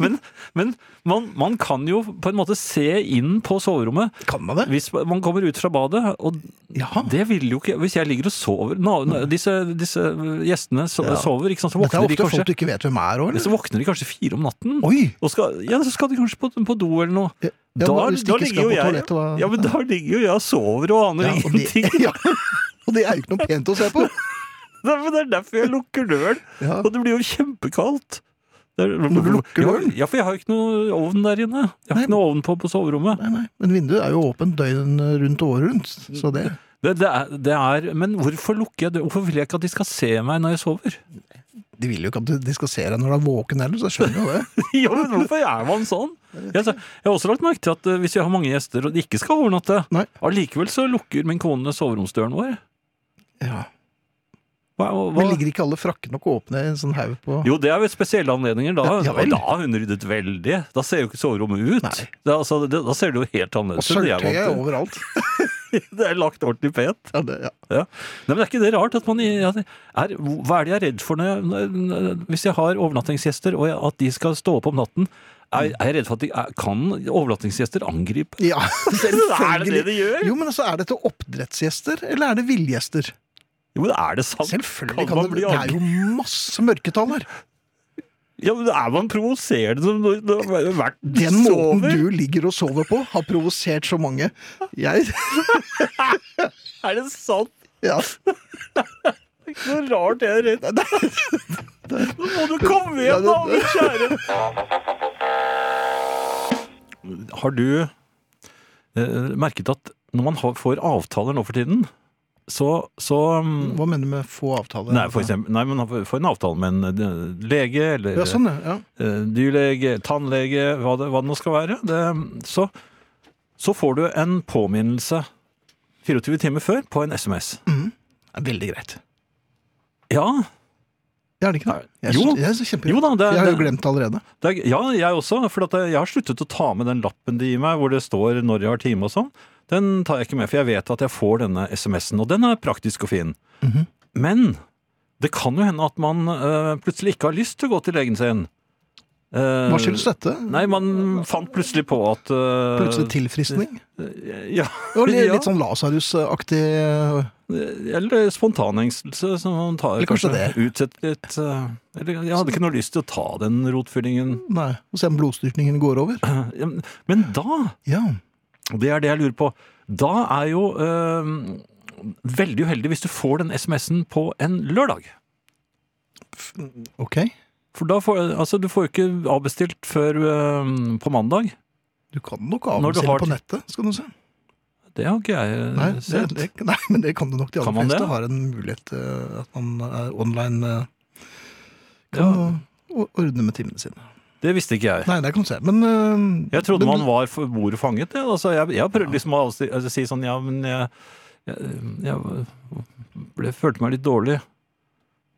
[SPEAKER 3] Men, men man, man kan jo på en måte se inn på soverommet
[SPEAKER 2] Kan man det?
[SPEAKER 3] hvis man kommer ut fra badet. Og
[SPEAKER 2] Jaha.
[SPEAKER 3] det vil jo ikke Hvis jeg ligger og sover na, na, disse, disse gjestene so,
[SPEAKER 2] Ja.
[SPEAKER 3] sover, ikke sant, så
[SPEAKER 2] Dette er
[SPEAKER 3] våkner de
[SPEAKER 2] ofte
[SPEAKER 3] kanskje
[SPEAKER 2] folk du ikke vet hvem er òg,
[SPEAKER 3] Men
[SPEAKER 2] eller?
[SPEAKER 3] så våkner de kanskje fire om natten.
[SPEAKER 2] Oi!
[SPEAKER 3] Og skal, ja, så skal de kanskje på, på do eller noe.
[SPEAKER 2] Ja, ja, hva hvis de ikke skal på toalettet, hva-
[SPEAKER 3] ja, men da ligger jo jeg og sover og aner
[SPEAKER 2] Ja, og,
[SPEAKER 3] ingenting.
[SPEAKER 2] det, ja. og det er jo ikke noe pent å se på!
[SPEAKER 3] Nei, men Det er derfor jeg lukker døren.
[SPEAKER 2] Ja.
[SPEAKER 3] Og det blir jo kjempekaldt. Det er-
[SPEAKER 2] Når du lukker døren?
[SPEAKER 3] Ja, for jeg har jo ikke noe ovn der inne. Jeg har
[SPEAKER 2] Nei.
[SPEAKER 3] ikke noe ovn på, på soverommet.
[SPEAKER 2] Nei, nei. Men vinduet er jo åpent døgn rundt og året rundt, så det
[SPEAKER 3] Det, det, er, det er, men hvorfor lukker jeg døren? Hvorfor vil jeg ikke at de skal se meg når jeg sover?
[SPEAKER 2] De vil jo ikke at du- de skal se deg når du er våken heller, så jeg skjønner jo det.
[SPEAKER 3] ja, men Hvorfor er man sånn? Jeg, sa- jeg har også lagt merke til at eh, hvis vi har mange gjester og de ikke skal overnatte,
[SPEAKER 2] Nei.
[SPEAKER 3] allikevel så lukker min kone soveromsdøren vår.
[SPEAKER 2] Ja.
[SPEAKER 3] Hva, hva?
[SPEAKER 2] Men ligger ikke alle frakkene og åpne i en sånn haug på
[SPEAKER 3] Jo, det er ved spesielle anledninger. Da,
[SPEAKER 2] Ja, ja vel.
[SPEAKER 3] da har hun ryddet veldig. Da ser jo ikke soverommet ut.
[SPEAKER 2] Nei.
[SPEAKER 3] Det, er altså, det, da ser det jo helt
[SPEAKER 2] Og
[SPEAKER 3] annerledes ut. enn jeg
[SPEAKER 2] sølvtøyet er
[SPEAKER 3] vant
[SPEAKER 2] overalt.
[SPEAKER 3] til. Det er lagt ordentlig pent.
[SPEAKER 2] Ja, det, ja.
[SPEAKER 3] Nei, men er ikke det rart at man ja, det er, Hva er det jeg er redd for når jeg, når- hvis jeg har overnattingsgjester, og jeg, at de skal stå opp om natten? Er, er jeg redd for at de er, Kan overnattingsgjester angripe?
[SPEAKER 2] Ja,
[SPEAKER 3] Er det det
[SPEAKER 2] selvfølgelig.
[SPEAKER 3] de gjør?
[SPEAKER 2] Jo, men altså, Er dette oppdrettsgjester, eller er det villgjester?
[SPEAKER 3] Jo, men er det sant?
[SPEAKER 2] Selvfølgelig
[SPEAKER 3] man
[SPEAKER 2] kan det
[SPEAKER 3] bli
[SPEAKER 2] Det er jo masse mørketall her.
[SPEAKER 3] Ja, men Er man provoserende som når når man har vært
[SPEAKER 2] Den måten
[SPEAKER 3] sover?
[SPEAKER 2] du ligger og sover på, har provosert så mange. Jeg
[SPEAKER 3] Er det sant?
[SPEAKER 2] Ja.
[SPEAKER 3] Ikke noe rart jeg er redd. Nå må du komme
[SPEAKER 2] Ja,
[SPEAKER 3] igjen, da,
[SPEAKER 2] det-
[SPEAKER 3] min kjære! Har du eh, merket at når man har, får avtaler nå for tiden, så, så mm,
[SPEAKER 2] Hva mener du med få avtaler?
[SPEAKER 3] Nei, for eksempel, nei, men man får en avtale med en eh, lege eller
[SPEAKER 2] Ja, sånn, ja.
[SPEAKER 3] eh, dyrlege, tannlege, hva det, hva det nå skal være, det, så, så får du en påminnelse 24 timer før på en SMS.
[SPEAKER 2] Mm. Det er Veldig greit.
[SPEAKER 3] Ja,
[SPEAKER 2] Jeg er det ikke det? Jeg,
[SPEAKER 3] Jo.
[SPEAKER 2] sy- jeg, er kjempe...
[SPEAKER 3] jo da, det,
[SPEAKER 2] jeg har jo
[SPEAKER 3] det,
[SPEAKER 2] glemt det allerede.
[SPEAKER 3] det er, ja, jeg også, for at jeg har sluttet å ta med den lappen de gir meg, hvor det står når jeg har time og sånn. Den tar jeg ikke med, for jeg vet at jeg får denne SMS-en, og den er praktisk og fin.
[SPEAKER 2] Mhm.
[SPEAKER 3] Men det kan jo hende at man eh, plutselig ikke har lyst til å gå til legen sin. Eh,
[SPEAKER 2] Hva skyldes dette?
[SPEAKER 3] Nei, man fant plutselig på at eh,
[SPEAKER 2] Plutselig tilfriskning?
[SPEAKER 3] Ja.
[SPEAKER 2] Det var litt,
[SPEAKER 3] ja.
[SPEAKER 2] litt sånn Lasarus-aktig øh,
[SPEAKER 3] Eller spontanengstelse, som man tar
[SPEAKER 2] Eller kanskje
[SPEAKER 3] utsett litt. eh, Eller jeg hadde ikke noe lyst til å ta den rotfyllingen.
[SPEAKER 2] Nei, og se om blodstyrkningen går over.
[SPEAKER 3] Ja, men- Men da,
[SPEAKER 2] Ja.
[SPEAKER 3] og det er det jeg lurer på, da er jo eh, veldig uheldig hvis du får den SMS-en på en lørdag.
[SPEAKER 2] Ok.
[SPEAKER 3] For da får, altså, du får jo ikke avbestilt før eh, på mandag.
[SPEAKER 2] Du kan nok
[SPEAKER 3] Når du
[SPEAKER 2] avbestille
[SPEAKER 3] har
[SPEAKER 2] på
[SPEAKER 3] ti-
[SPEAKER 2] nettet, skal du se.
[SPEAKER 3] Det har ikke jeg eh,
[SPEAKER 2] Nei, det,
[SPEAKER 3] sett.
[SPEAKER 2] det, nei, men det kan du nok. De
[SPEAKER 3] Kan
[SPEAKER 2] aller
[SPEAKER 3] man det?
[SPEAKER 2] fleste har en mulighet eh, at man er online eh, kan
[SPEAKER 3] Ja.
[SPEAKER 2] å- å ordne med timene sine.
[SPEAKER 3] det visste ikke jeg.
[SPEAKER 2] Nei, det kan du se, men eh,
[SPEAKER 3] Jeg trodde
[SPEAKER 2] men-
[SPEAKER 3] man var for bordet fanget. Ja. Altså, jeg, jeg prøvde liksom å si, altså, si sånn Ja, men jeg, jeg, jeg ble, følte meg litt dårlig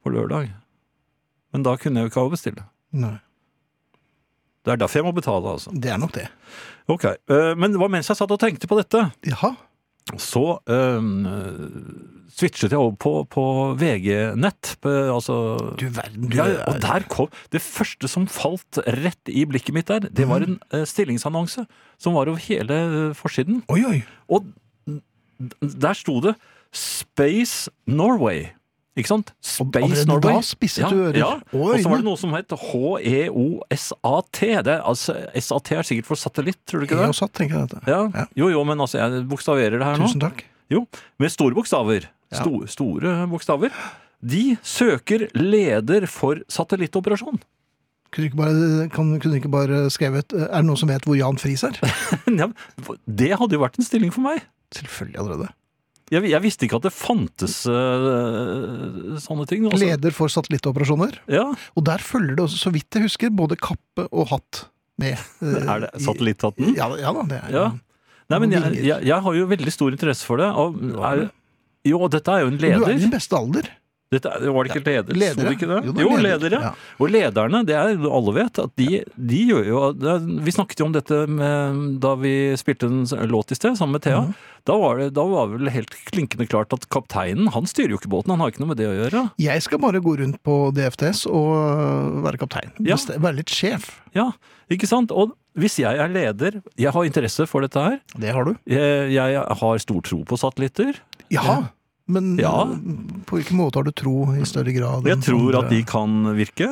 [SPEAKER 3] på lørdag. Men da kunne jeg jo ikke avbestille.
[SPEAKER 2] Nei,
[SPEAKER 3] Det er derfor jeg må betale, altså.
[SPEAKER 2] det er nok det.
[SPEAKER 3] Ok, eh, Men det var mens jeg satt og tenkte på dette,
[SPEAKER 2] Jaha.
[SPEAKER 3] så eh, switchet jeg over på, på VG-nett. på- Altså
[SPEAKER 2] Du verden, du
[SPEAKER 3] ja,
[SPEAKER 2] er
[SPEAKER 3] og der kom Det første som falt rett i blikket mitt der, det
[SPEAKER 2] Mhm.
[SPEAKER 3] var en eh, stillingsannonse som var over hele eh, forsiden.
[SPEAKER 2] Oi, oi.
[SPEAKER 3] Og der sto det Space Norway. Ikke sant?
[SPEAKER 2] Og
[SPEAKER 3] Space
[SPEAKER 2] allerede
[SPEAKER 3] Norway.
[SPEAKER 2] da spisset du ører.
[SPEAKER 3] Ja.
[SPEAKER 2] Og
[SPEAKER 3] Og så
[SPEAKER 2] øynene.
[SPEAKER 3] var det noe som het E HEOSAT. Det er, altså, SAT er sikkert for satellitt, tror du ikke
[SPEAKER 2] Jeg
[SPEAKER 3] det?
[SPEAKER 2] og satt, tenker jeg dette.
[SPEAKER 3] Ja.
[SPEAKER 2] altså- Ja.
[SPEAKER 3] Jo, jo, men altså, jeg bokstaverer det her nå.
[SPEAKER 2] Tusen takk.
[SPEAKER 3] Jo, med store bokstaver.
[SPEAKER 2] Ja.
[SPEAKER 3] Sto, Store bokstaver. De søker leder for satellittoperasjon.
[SPEAKER 2] Kunne du ikke bare, kan, kunne du ikke bare skrevet eh, Er det noen som vet hvor Jan Friis er?
[SPEAKER 3] Ja, det hadde jo vært en stilling for meg.
[SPEAKER 2] Selvfølgelig allerede.
[SPEAKER 3] Jeg, jeg visste ikke at det fantes eh, sånne ting. altså.
[SPEAKER 2] Leder for satellittoperasjoner.
[SPEAKER 3] Ja.
[SPEAKER 2] Og der følger det også, så vidt jeg husker, både kappe og hatt med. eh,
[SPEAKER 3] Er det
[SPEAKER 2] i-
[SPEAKER 3] satellitthatten?
[SPEAKER 2] Ja, ja da, det er
[SPEAKER 3] Ja. Nei, men jeg,
[SPEAKER 2] Vinger.
[SPEAKER 3] jeg, jeg har jo veldig stor interesse for det. Og
[SPEAKER 2] har
[SPEAKER 3] er,
[SPEAKER 2] det.
[SPEAKER 3] jo, og dette er jo en
[SPEAKER 2] Men Du er i
[SPEAKER 3] leder.
[SPEAKER 2] din beste alder.
[SPEAKER 3] Dette er, var det ikke leder? Sto det ikke det?
[SPEAKER 2] Jo,
[SPEAKER 3] Jo,
[SPEAKER 2] det er leder.
[SPEAKER 3] ledere.
[SPEAKER 2] Ja.
[SPEAKER 3] Og lederne, det er jo alle vet, at de, de gjør jo det, er- Vi snakket jo om dette med, da vi spilte en låt i sted sammen med
[SPEAKER 2] Mhm.
[SPEAKER 3] Thea. Da, var det, da var vel helt klinkende klart at kapteinen, han styrer jo ikke båten. Han har ikke noe med det å gjøre.
[SPEAKER 2] Jeg skal bare gå rundt på DFTS og være kaptein.
[SPEAKER 3] Ja.
[SPEAKER 2] Beste- Være litt sjef.
[SPEAKER 3] Ja, ikke sant? Og hvis jeg er leder, jeg har interesse for dette her,
[SPEAKER 2] Det har du.
[SPEAKER 3] jeg, jeg har stor tro på satellitter.
[SPEAKER 2] Jaha. Men
[SPEAKER 3] Ja.
[SPEAKER 2] eh, på hvilken måte har du tro i større grad?
[SPEAKER 3] Jeg
[SPEAKER 2] enn
[SPEAKER 3] tror at
[SPEAKER 2] andre?
[SPEAKER 3] de kan virke.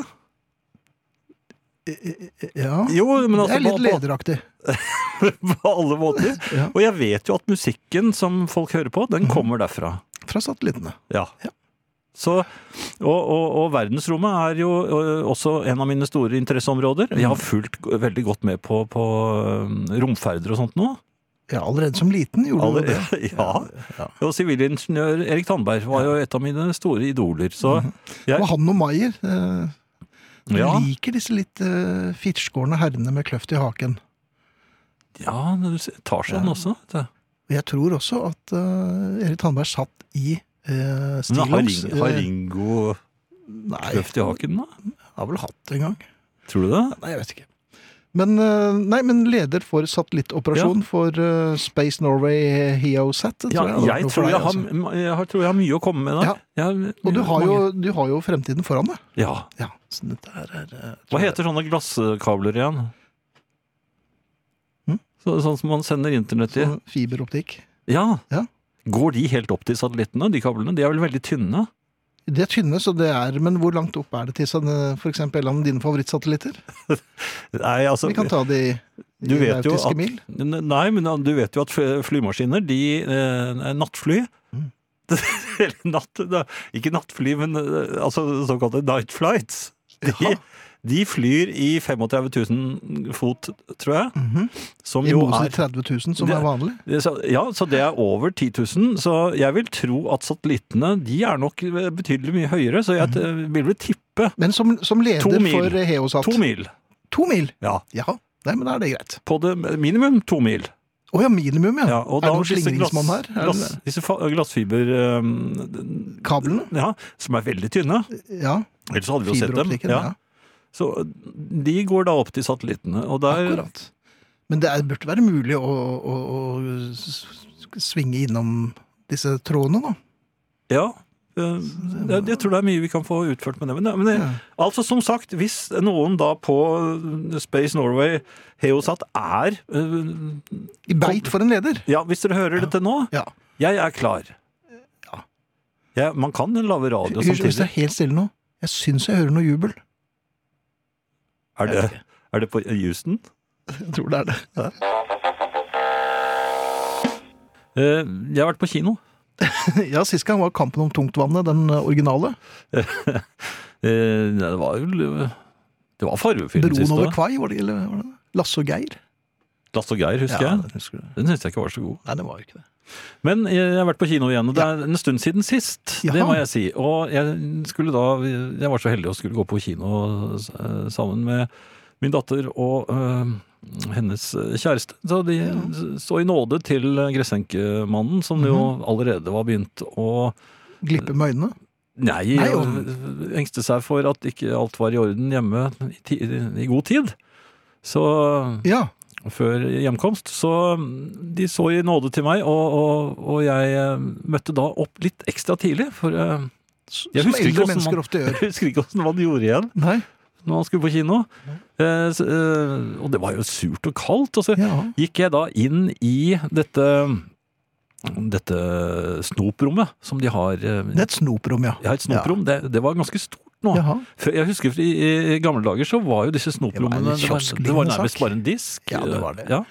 [SPEAKER 2] Eh, Ja.
[SPEAKER 3] Jo, men
[SPEAKER 2] det
[SPEAKER 3] altså
[SPEAKER 2] er litt
[SPEAKER 3] på,
[SPEAKER 2] lederaktig.
[SPEAKER 3] på, på alle måter.
[SPEAKER 2] Ja.
[SPEAKER 3] Og jeg vet jo at musikken som folk hører på, den kommer derfra.
[SPEAKER 2] Fra satellittene.
[SPEAKER 3] Ja.
[SPEAKER 2] Ja.
[SPEAKER 3] Så, og, og, og verdensrommet er jo ø, også en av mine store interesseområder. Jeg
[SPEAKER 2] Mhm.
[SPEAKER 3] har fulgt g- veldig godt med på, på ø, romferder og sånt nå.
[SPEAKER 2] Ja, allerede som liten gjorde du
[SPEAKER 3] Alle,
[SPEAKER 2] det.
[SPEAKER 3] ja.
[SPEAKER 2] Ja.
[SPEAKER 3] Og sivilingeniør Erik Tandberg var jo et av mine store idoler. Så
[SPEAKER 2] Mhm. Det var
[SPEAKER 3] jeg,
[SPEAKER 2] han og Maier. eh, Du
[SPEAKER 3] ja,
[SPEAKER 2] liker disse litt uh, firskårne herrene med kløft i haken.
[SPEAKER 3] ja, du ser- tar seg den også. vet du.
[SPEAKER 2] Og jeg tror også at eh, Erik Tandberg satt i uh,
[SPEAKER 3] Men har,
[SPEAKER 2] stillongs.
[SPEAKER 3] Ring, har Ringo
[SPEAKER 2] Eh, Nei,
[SPEAKER 3] kløft i haken, da?
[SPEAKER 2] har vel hatt det en gang.
[SPEAKER 3] Tror du det?
[SPEAKER 2] Nei, jeg vet ikke. Men, eh, nei, men leder for satellittoperasjon for eh, Space Norway eh, HEOSAT.
[SPEAKER 3] Ja,
[SPEAKER 2] hadde vært
[SPEAKER 3] jeg
[SPEAKER 2] noe for
[SPEAKER 3] tror
[SPEAKER 2] deg,
[SPEAKER 3] jeg, har,
[SPEAKER 2] altså.
[SPEAKER 3] jeg har- tror jeg har mye å komme med der. Jeg-
[SPEAKER 2] Og du har, jo,
[SPEAKER 3] mange-
[SPEAKER 2] du har jo fremtiden foran deg.
[SPEAKER 3] Ja.
[SPEAKER 2] Ja, så dette her er eh, tror
[SPEAKER 3] Hva
[SPEAKER 2] jeg-
[SPEAKER 3] heter sånne glasskabler igjen?
[SPEAKER 2] Hm?
[SPEAKER 3] Så, sånn som man sender internett i.
[SPEAKER 2] Sånn Fiberoptikk.
[SPEAKER 3] Ja.
[SPEAKER 2] Ja.
[SPEAKER 3] Går de helt opp til satellittene, de kablene? De er vel veldig tynne?
[SPEAKER 2] De er tynne, så det er Men hvor langt opp er det til sånn, eh, for eksempel en av dine favorittsatellitter?
[SPEAKER 3] Nei, altså,
[SPEAKER 2] Vi kan ta de i
[SPEAKER 3] du vet jo
[SPEAKER 2] nautiske
[SPEAKER 3] at,
[SPEAKER 2] mil.
[SPEAKER 3] Nei, men du vet jo at fly- flymaskiner, de eh, Nattfly
[SPEAKER 2] Mm.
[SPEAKER 3] Eller natt, da, Ikke nattfly, men eh, altså, såkalte night flights. De,
[SPEAKER 2] Ja.
[SPEAKER 3] de flyr i 35 000 fot, tror jeg.
[SPEAKER 2] Mhm.
[SPEAKER 3] Som
[SPEAKER 2] I
[SPEAKER 3] jo
[SPEAKER 2] motsetning
[SPEAKER 3] er
[SPEAKER 2] til 30 000, som
[SPEAKER 3] Det-
[SPEAKER 2] er vanlig.
[SPEAKER 3] så, Ja, så det er over 10 000. Så jeg vil tro at satellittene de er nok eh, betydelig mye høyere. Så jeg
[SPEAKER 2] Mhm.
[SPEAKER 3] eh, vil vel tippe
[SPEAKER 2] Men som, som leder for
[SPEAKER 3] mil.
[SPEAKER 2] Heosat
[SPEAKER 3] to mil.
[SPEAKER 2] To mil!
[SPEAKER 3] Ja,
[SPEAKER 2] Ja, nei, men da er det greit.
[SPEAKER 3] på det minimum to mil.
[SPEAKER 2] Å ja, minimum, ja.
[SPEAKER 3] Ja, og
[SPEAKER 2] er
[SPEAKER 3] da
[SPEAKER 2] det noen
[SPEAKER 3] disse glass-
[SPEAKER 2] slingringsmonn her? Er
[SPEAKER 3] Glass,
[SPEAKER 2] det
[SPEAKER 3] disse fa- glassfiber... øhm,
[SPEAKER 2] Kablene?
[SPEAKER 3] ja, som er veldig tynne.
[SPEAKER 2] Ja.
[SPEAKER 3] Ellers hadde vi jo sett dem.
[SPEAKER 2] Fiberoptikken,
[SPEAKER 3] Ja.
[SPEAKER 2] ja.
[SPEAKER 3] Så de går da opp til satellittene, og der
[SPEAKER 2] Akkurat. Men det er, burde være mulig å, å, å s- svinge innom disse trådene, da.
[SPEAKER 3] Ja. øh, Jeg, jeg tror det er mye vi kan få utført med det. Men, men
[SPEAKER 2] Ja.
[SPEAKER 3] altså, som sagt, hvis noen da på øh, Space Norway Heosat er øh,
[SPEAKER 2] I beit for en leder.
[SPEAKER 3] Ja, hvis dere hører dette nå,
[SPEAKER 2] Ja.
[SPEAKER 3] jeg er klar.
[SPEAKER 2] Ja.
[SPEAKER 3] Ja, man kan lage radio
[SPEAKER 2] Hysj, Hvis det
[SPEAKER 3] samtidig.
[SPEAKER 2] er helt stille nå. Jeg syns jeg hører noe jubel.
[SPEAKER 3] Er det, er det på Houston?
[SPEAKER 2] Jeg tror det er det.
[SPEAKER 3] Eh, Jeg har vært på kino.
[SPEAKER 2] Ja, Sist gang var Kampen om tungtvannet den originale.
[SPEAKER 3] Eh, nei, det var jo Det var fargefilm sist
[SPEAKER 2] Broen over
[SPEAKER 3] òg.
[SPEAKER 2] Kvai, var det, eller var det det? Lasse og Geir?
[SPEAKER 3] Lasse og Geir, husker
[SPEAKER 2] Ja,
[SPEAKER 3] jeg.
[SPEAKER 2] den husker du.
[SPEAKER 3] Den syns jeg ikke var så god.
[SPEAKER 2] Nei, det var jo ikke det.
[SPEAKER 3] Men jeg jeg har vært på kino igjen, og det er en stund siden sist. Det
[SPEAKER 2] Jaha.
[SPEAKER 3] må jeg si. Og jeg skulle da Jeg var så heldig å skulle gå på kino eh, sammen med min datter og eh, hennes kjæreste. Så de så i nåde til gressenkemannen, som jo
[SPEAKER 2] Mhm.
[SPEAKER 3] allerede var begynt å
[SPEAKER 2] Glippe med øynene.
[SPEAKER 3] Nei,
[SPEAKER 2] Nei,
[SPEAKER 3] og
[SPEAKER 2] og-
[SPEAKER 3] engste seg for at ikke alt var i orden hjemme i, ti, i god tid. Så
[SPEAKER 2] Ja.
[SPEAKER 3] før hjemkomst. Så de så i nåde til meg, og, og, og jeg eh, møtte da opp litt ekstra tidlig. For eh,
[SPEAKER 2] s-
[SPEAKER 3] Jeg
[SPEAKER 2] Som
[SPEAKER 3] husker ikke
[SPEAKER 2] eldre
[SPEAKER 3] hvordan man-
[SPEAKER 2] mennesker ofte
[SPEAKER 3] jeg
[SPEAKER 2] gjør.
[SPEAKER 3] husker ikke åssen man gjorde igjen
[SPEAKER 2] Nei.
[SPEAKER 3] når man skulle på kino. Eh, så, eh, og det var jo surt og kaldt. Og så
[SPEAKER 2] Ja.
[SPEAKER 3] gikk jeg da inn i dette dette snoprommet som de har. eh,
[SPEAKER 2] Det er et snoprom, ja.
[SPEAKER 3] Jeg har et snoprom. Det, det var ganske stort nå.
[SPEAKER 2] Jaha.
[SPEAKER 3] Før- Jeg husker for i, i gamle dager så var jo disse
[SPEAKER 2] Det var
[SPEAKER 3] snoprommene
[SPEAKER 2] en
[SPEAKER 3] det, var-
[SPEAKER 2] kiosklignende
[SPEAKER 3] det var nærmest
[SPEAKER 2] sak.
[SPEAKER 3] bare en disk.
[SPEAKER 2] Ja, det var det.
[SPEAKER 3] Ja.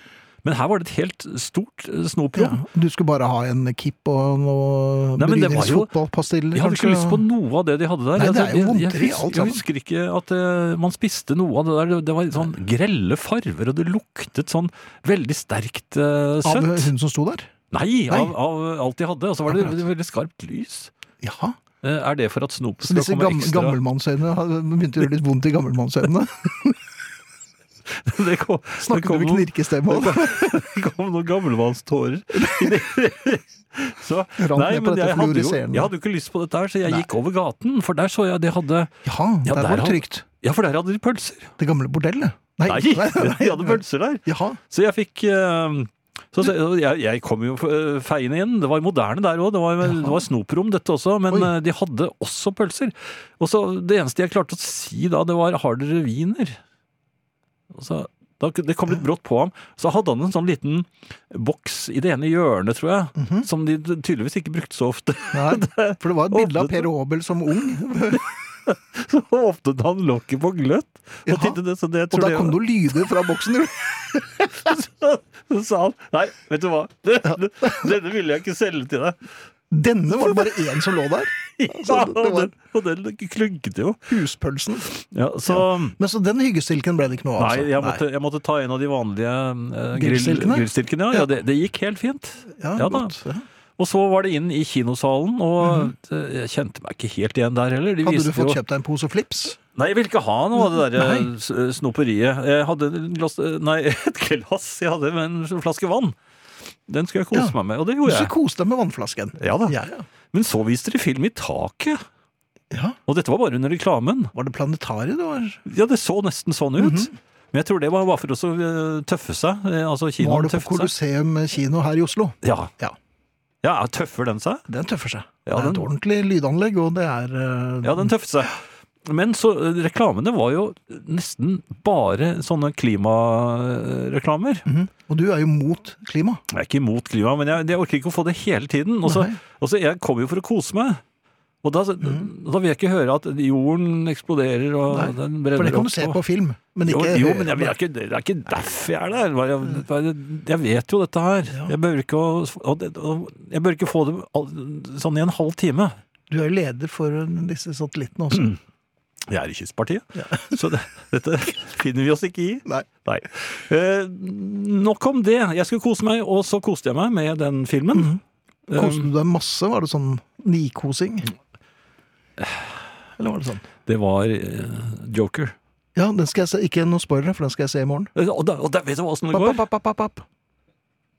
[SPEAKER 3] Men her var det et helt stort eh,
[SPEAKER 2] Ja.
[SPEAKER 3] snoprom.
[SPEAKER 2] Du skulle bare ha en kipp og noe
[SPEAKER 3] Nei, men det var jo-
[SPEAKER 2] bryningsfotballpastiller,
[SPEAKER 3] Jeg hadde ikke lyst på noe av det de hadde
[SPEAKER 2] Nei,
[SPEAKER 3] der.
[SPEAKER 2] det er
[SPEAKER 3] Altså,
[SPEAKER 2] jo
[SPEAKER 3] jeg- jeg
[SPEAKER 2] vondteri,
[SPEAKER 3] hus-
[SPEAKER 2] alt
[SPEAKER 3] Jeg
[SPEAKER 2] sammen.
[SPEAKER 3] husker ikke at eh, man spiste noe av det der. Det, det var sånn grelle farver, og det luktet sånn veldig sterkt
[SPEAKER 2] Av
[SPEAKER 3] eh, søtt.
[SPEAKER 2] hun som sto der?
[SPEAKER 3] Nei,
[SPEAKER 2] Nei.
[SPEAKER 3] av, av alt de hadde. Og så var det
[SPEAKER 2] Akkurat.
[SPEAKER 3] veldig skarpt lys.
[SPEAKER 2] Jaha.
[SPEAKER 3] Eh, Er det for at snopet
[SPEAKER 2] Så
[SPEAKER 3] skal
[SPEAKER 2] disse
[SPEAKER 3] komme
[SPEAKER 2] gam
[SPEAKER 3] ekstra?
[SPEAKER 2] gammelmannsøynene hadde- begynte å gjøre litt vondt i gammelmannsøynene?
[SPEAKER 3] Det kom- det
[SPEAKER 2] Snakket
[SPEAKER 3] kom
[SPEAKER 2] du
[SPEAKER 3] noen-
[SPEAKER 2] knirkestemme òg?
[SPEAKER 3] Det kom noen gammelmannstårer. så,
[SPEAKER 2] Rant
[SPEAKER 3] nei,
[SPEAKER 2] ned på
[SPEAKER 3] men
[SPEAKER 2] dette
[SPEAKER 3] jeg hadde, jo,
[SPEAKER 2] fluorescerende.
[SPEAKER 3] jeg hadde jo ikke lyst på dette her, så jeg
[SPEAKER 2] Nei.
[SPEAKER 3] gikk over gaten, for der så jeg de hadde
[SPEAKER 2] Jaha, der
[SPEAKER 3] Ja,
[SPEAKER 2] var
[SPEAKER 3] der
[SPEAKER 2] det
[SPEAKER 3] hadde-
[SPEAKER 2] trygt.
[SPEAKER 3] Ja, for der hadde de pølser.
[SPEAKER 2] Det gamle bordellet?
[SPEAKER 3] Nei, de hadde pølser der.
[SPEAKER 2] Jaha.
[SPEAKER 3] Så jeg fikk eh, så så- jeg, jeg kom jo eh, feiende inn. Det var moderne der òg. Det, var- det var snoprom, dette også. Men
[SPEAKER 2] Oi.
[SPEAKER 3] eh, de hadde også pølser. Og så Det eneste jeg klarte å si da, det var 'har dere wiener'? Og så, da, det kom litt brått på ham. Så hadde han en sånn liten boks i det ene hjørnet, tror jeg.
[SPEAKER 2] Mhm.
[SPEAKER 3] Som de tydeligvis ikke brukte så ofte.
[SPEAKER 2] Nei, for det var et bilde av
[SPEAKER 3] Åpnet
[SPEAKER 2] Per Aabel som ung,
[SPEAKER 3] Så åpnet han lokket på gløtt. Og,
[SPEAKER 2] Jaha.
[SPEAKER 3] tittet det, så det, jeg
[SPEAKER 2] og
[SPEAKER 3] tror
[SPEAKER 2] da
[SPEAKER 3] det-
[SPEAKER 2] kom det noen lyder fra boksen. jo.
[SPEAKER 3] så, så sa han Nei, vet du hva. Denne ville jeg ikke selge til deg.
[SPEAKER 2] Denne var det bare én som lå der.
[SPEAKER 3] Ja,
[SPEAKER 2] Altså, det
[SPEAKER 3] og
[SPEAKER 2] var
[SPEAKER 3] den, og den klunket jo.
[SPEAKER 2] huspølsen.
[SPEAKER 3] Ja, så
[SPEAKER 2] Men så den hyggestilken ble det ikke noe av?
[SPEAKER 3] Nei,
[SPEAKER 2] altså.
[SPEAKER 3] jeg måtte, jeg måtte ta en av de vanlige eh, grill-
[SPEAKER 2] Grillstilkene?
[SPEAKER 3] grillstilkene. Ja, ja det, det gikk helt fint.
[SPEAKER 2] Ja,
[SPEAKER 3] Ja da.
[SPEAKER 2] godt. Ja.
[SPEAKER 3] Og så var det inn i kinosalen, og eh, jeg kjente meg ikke helt igjen der heller. De
[SPEAKER 2] Hadde du
[SPEAKER 3] viste
[SPEAKER 2] fått
[SPEAKER 3] jo-
[SPEAKER 2] kjøpt deg en pose flips?
[SPEAKER 3] Nei, jeg ville ikke ha noe av det der eh,
[SPEAKER 2] Nei.
[SPEAKER 3] s- snoperiet. Jeg hadde en glass, eh, nei, et glass, jeg hadde en flaske vann. Den skulle jeg kose
[SPEAKER 2] Ja.
[SPEAKER 3] meg med, og det
[SPEAKER 2] Du
[SPEAKER 3] gjorde
[SPEAKER 2] skulle
[SPEAKER 3] jeg.
[SPEAKER 2] kose deg med vannflasken.
[SPEAKER 3] Oh, Ja da.
[SPEAKER 2] Ja, ja.
[SPEAKER 3] Men så viste de film i taket,
[SPEAKER 2] ja.
[SPEAKER 3] og dette var bare under reklamen.
[SPEAKER 2] Var det planetariet det var?
[SPEAKER 3] Ja, det så nesten sånn ut.
[SPEAKER 2] Mhm.
[SPEAKER 3] Men jeg tror det var bare for å så, eh, tøffe seg. eh, Altså,
[SPEAKER 2] Var
[SPEAKER 3] kinoen
[SPEAKER 2] det på
[SPEAKER 3] tøffet seg.
[SPEAKER 2] Colosseum kino her i Oslo?
[SPEAKER 3] Ja.
[SPEAKER 2] Ja.
[SPEAKER 3] ja, tøffer den seg?
[SPEAKER 2] Den tøffer seg.
[SPEAKER 3] Ja,
[SPEAKER 2] det er
[SPEAKER 3] den-
[SPEAKER 2] et ordentlig lydanlegg, og det er eh,
[SPEAKER 3] Ja, den tøffet seg. Men så, eh, reklamene var jo nesten bare sånne klimareklamer.
[SPEAKER 2] mhm. Og du er jo mot klima.
[SPEAKER 3] Jeg er ikke imot klima, men jeg, jeg orker ikke å få det hele tiden. Og så,
[SPEAKER 2] Nei.
[SPEAKER 3] og så jeg kom jo for å kose meg. Og da, da vil jeg ikke høre at jorden eksploderer og
[SPEAKER 2] Mhm. Nei,
[SPEAKER 3] den
[SPEAKER 2] For
[SPEAKER 3] brenner
[SPEAKER 2] det kan
[SPEAKER 3] opp
[SPEAKER 2] du se
[SPEAKER 3] og-
[SPEAKER 2] på film, men
[SPEAKER 3] jo,
[SPEAKER 2] ikke
[SPEAKER 3] jo,
[SPEAKER 2] høre
[SPEAKER 3] men jeg,
[SPEAKER 2] på.
[SPEAKER 3] jeg er ikke, det er ikke derfor jeg er der. Bare- Jeg, bare, jeg vet jo dette her. Jeg behøver ikke å og det- og Jeg bør ikke få det all- sånn i en halv time.
[SPEAKER 2] Du er jo leder for disse satellittene også.
[SPEAKER 3] Mm. Jeg er i Kystpartiet, så det, dette finner vi oss ikke i.
[SPEAKER 2] Nei.
[SPEAKER 3] Nei. Eh, nok om det. Jeg skulle kose meg, og så koste jeg meg med den
[SPEAKER 2] Mhm.
[SPEAKER 3] filmen. Eh,
[SPEAKER 2] Koste du deg masse? Var det sånn nikosing? Eller var det sånn?
[SPEAKER 3] Det var eh, Joker.
[SPEAKER 2] Ja, den skal jeg se. Ikke noe spoilere, for den skal jeg se i morgen.
[SPEAKER 3] Eh, Og da, og da vet du åssen det
[SPEAKER 2] Papp,
[SPEAKER 3] går?
[SPEAKER 2] papp, papp, papp, papp.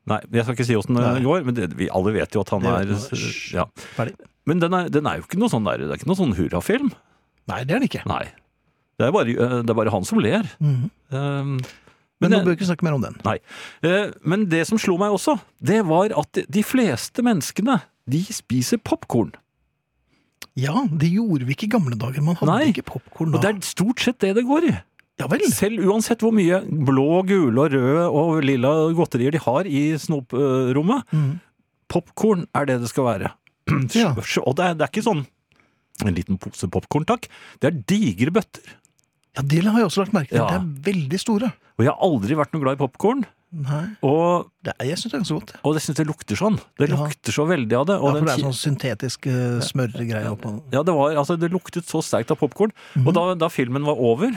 [SPEAKER 3] Nei, jeg skal ikke si åssen
[SPEAKER 2] Nei.
[SPEAKER 3] det går, men det, vi alle vet jo at han
[SPEAKER 2] Det vet
[SPEAKER 3] er eh,
[SPEAKER 2] man. Hysj.
[SPEAKER 3] ja.
[SPEAKER 2] Ferdig.
[SPEAKER 3] Men den er, den er jo ikke noe sånn der, det er ikke noe sånn hurrafilm.
[SPEAKER 2] Nei, det er den ikke.
[SPEAKER 3] Nei. Det er bare, eh, det er bare han som ler.
[SPEAKER 2] Mhm.
[SPEAKER 3] Um,
[SPEAKER 2] Men nå
[SPEAKER 3] men,
[SPEAKER 2] bør vi ikke snakke mer om den.
[SPEAKER 3] nei. Eh, men det som slo meg også, det var at de- de fleste menneskene de spiser popkorn.
[SPEAKER 2] Ja, det gjorde vi ikke i gamle dager. Man hadde
[SPEAKER 3] Nei.
[SPEAKER 2] ikke popkorn
[SPEAKER 3] Og
[SPEAKER 2] da.
[SPEAKER 3] det er stort sett det det går i.
[SPEAKER 2] Ja vel.
[SPEAKER 3] Selv uansett hvor mye blå, gule og røde og lilla godterier de har i snoprommet,
[SPEAKER 2] Mhm.
[SPEAKER 3] popkorn er det det skal være.
[SPEAKER 2] Ja.
[SPEAKER 3] Og det er, det er ikke sånn en liten pose popkorn, takk. Det er digre bøtter.
[SPEAKER 2] Ja, det har jeg også lagt merke til.
[SPEAKER 3] Ja.
[SPEAKER 2] De er veldig store.
[SPEAKER 3] Og jeg har aldri vært noe glad i popkorn.
[SPEAKER 2] Nei,
[SPEAKER 3] Og,
[SPEAKER 2] det er, jeg syns det er ganske godt. Ja,
[SPEAKER 3] og jeg syns det lukter sånn. Det
[SPEAKER 2] Ja.
[SPEAKER 3] lukter så veldig av det. Og
[SPEAKER 2] for
[SPEAKER 3] den
[SPEAKER 2] det er
[SPEAKER 3] ki-
[SPEAKER 2] sånn syntetisk uh, smørgreie oppå.
[SPEAKER 3] ja, det, var, altså, det luktet så sterkt av popkorn.
[SPEAKER 2] Mhm.
[SPEAKER 3] Og da, da filmen var over,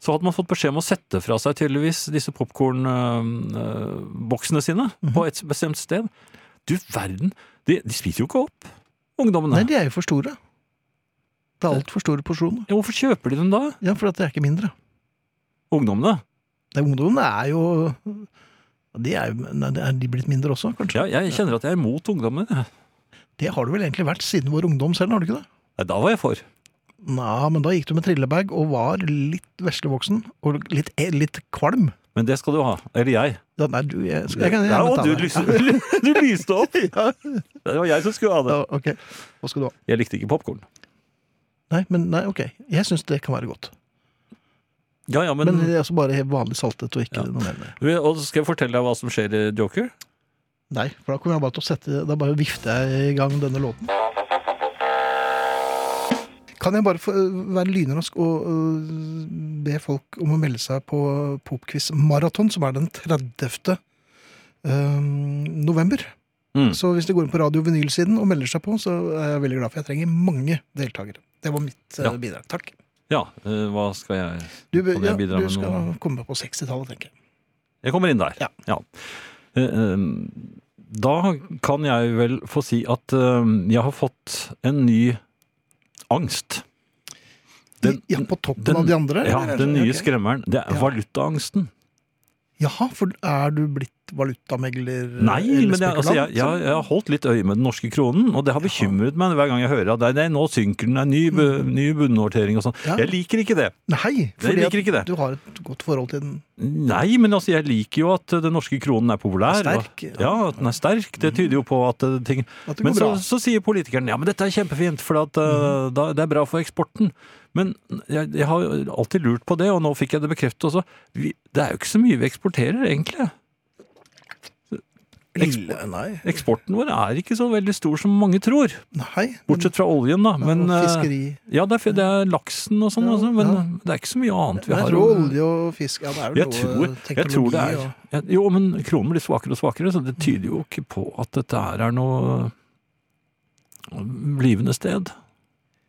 [SPEAKER 3] så hadde man fått beskjed om å sette fra seg tydeligvis disse popkornboksene sine
[SPEAKER 2] Mhm.
[SPEAKER 3] på et bestemt sted. Du verden, de, de spiser jo ikke opp, ungdommene.
[SPEAKER 2] Nei, de er jo for store. Det er altfor store porsjoner.
[SPEAKER 3] Ja, Hvorfor kjøper de dem da,
[SPEAKER 2] Ja, for at det er ikke mindre.
[SPEAKER 3] ungdommene?
[SPEAKER 2] Det, ungdommene er jo de er, jo- nei, det er de blitt mindre også, kanskje?
[SPEAKER 3] Ja, jeg kjenner at jeg er imot ungdommen. jeg.
[SPEAKER 2] Det har du vel egentlig vært siden vår ungdom selv, har du ikke det?
[SPEAKER 3] Nei, da var jeg for.
[SPEAKER 2] Nei, men da gikk du med trillebag og var litt veslevoksen og litt, eh, litt kvalm.
[SPEAKER 3] Men det skal du ha. Eller jeg.
[SPEAKER 2] Ja, nei, du, jeg, skal, jeg kan
[SPEAKER 3] Ja,
[SPEAKER 2] gjerne
[SPEAKER 3] og
[SPEAKER 2] ta
[SPEAKER 3] du,
[SPEAKER 2] det.
[SPEAKER 3] lyste, du lyste opp! Det var jeg som skulle ha det.
[SPEAKER 2] Ja, ok. Hva skal du ha?
[SPEAKER 3] Jeg likte ikke popkorn.
[SPEAKER 2] Nei, men nei, ok. Jeg syns det kan være godt.
[SPEAKER 3] Ja, ja, men,
[SPEAKER 2] Men det er altså bare vanlig saltet og ikke
[SPEAKER 3] Ja.
[SPEAKER 2] noe mer. enn det.
[SPEAKER 3] Og så skal jeg fortelle deg hva som skjer i Joker?
[SPEAKER 2] Nei, for da kommer jeg bare til å sette Da bare vifter jeg i gang denne låten. Kan jeg bare få øh, være lynrask og øh, be folk om å melde seg på Popquiz Maraton, som er den 30. øhm, november?
[SPEAKER 3] Mm.
[SPEAKER 2] Så hvis de går inn på Radio Vinyl-siden og melder seg på, så er jeg veldig glad, for jeg trenger mange deltakere. Det var mitt øh,
[SPEAKER 3] Ja.
[SPEAKER 2] bidrag. Takk.
[SPEAKER 3] Ja, eh, hva skal jeg
[SPEAKER 2] Du,
[SPEAKER 3] Kan jeg
[SPEAKER 2] ja,
[SPEAKER 3] bidra
[SPEAKER 2] du
[SPEAKER 3] med
[SPEAKER 2] skal
[SPEAKER 3] noe?
[SPEAKER 2] komme på 60-tallet, tenker jeg.
[SPEAKER 3] Jeg kommer inn der.
[SPEAKER 2] Ja.
[SPEAKER 3] Eh, eh, Da kan jeg vel få si at eh, jeg har fått en ny angst. Den-
[SPEAKER 2] ja, på toppen
[SPEAKER 3] den-
[SPEAKER 2] av de andre?
[SPEAKER 3] Ja,
[SPEAKER 2] eller?
[SPEAKER 3] Den nye
[SPEAKER 2] altså? Ok.
[SPEAKER 3] skremmeren. Det er
[SPEAKER 2] Ja.
[SPEAKER 3] valutaangsten.
[SPEAKER 2] Jaha, for er du blitt valutamegler
[SPEAKER 3] Nei,
[SPEAKER 2] Eh, eller
[SPEAKER 3] men jeg, altså, jeg,
[SPEAKER 2] spekulant?
[SPEAKER 3] jeg, jeg har holdt litt øye med den norske kronen, og det har bekymret meg hver gang jeg hører at nei, nei, nå synker den, det er ny, bu- ny bunnotering og sånn.
[SPEAKER 2] Mm. Ja.
[SPEAKER 3] Jeg liker ikke det.
[SPEAKER 2] Nei,
[SPEAKER 3] Jeg
[SPEAKER 2] fordi at
[SPEAKER 3] liker ikke det.
[SPEAKER 2] du har et godt forhold til den.
[SPEAKER 3] Nei, men altså, jeg liker jo at den norske kronen er populær.
[SPEAKER 2] Er sterk, ja.
[SPEAKER 3] Og, ja, at den er sterk. Det tyder jo på at eh, ting
[SPEAKER 2] At det går
[SPEAKER 3] Men så,
[SPEAKER 2] bra. Mhm.
[SPEAKER 3] så sier politikeren ja, men dette er kjempefint, for at, eh, da, det er bra for eksporten. Men jeg, jeg har alltid lurt på det, og nå fikk jeg det bekreftet også. Vi, det er jo ikke så mye vi eksporterer, egentlig. Eksport-
[SPEAKER 2] Lille, nei.
[SPEAKER 3] Eksporten vår er ikke så veldig stor som mange tror.
[SPEAKER 2] nei.
[SPEAKER 3] Bortsett fra oljen, da. Men,
[SPEAKER 2] og
[SPEAKER 3] eh,
[SPEAKER 2] fiskeri.
[SPEAKER 3] Ja, det er, fi- det er laksen og sånn,
[SPEAKER 2] Ja,
[SPEAKER 3] altså, men
[SPEAKER 2] ja.
[SPEAKER 3] det er ikke så mye annet vi
[SPEAKER 2] Nei,
[SPEAKER 3] har.
[SPEAKER 2] jeg tror olje og fisk ja, det er vel
[SPEAKER 3] jeg,
[SPEAKER 2] noe
[SPEAKER 3] tror,
[SPEAKER 2] teknologi
[SPEAKER 3] jeg tror det er
[SPEAKER 2] og
[SPEAKER 3] ja, Jo, men kronen blir svakere og svakere, så det tyder jo ikke på at dette her er noe blivende sted.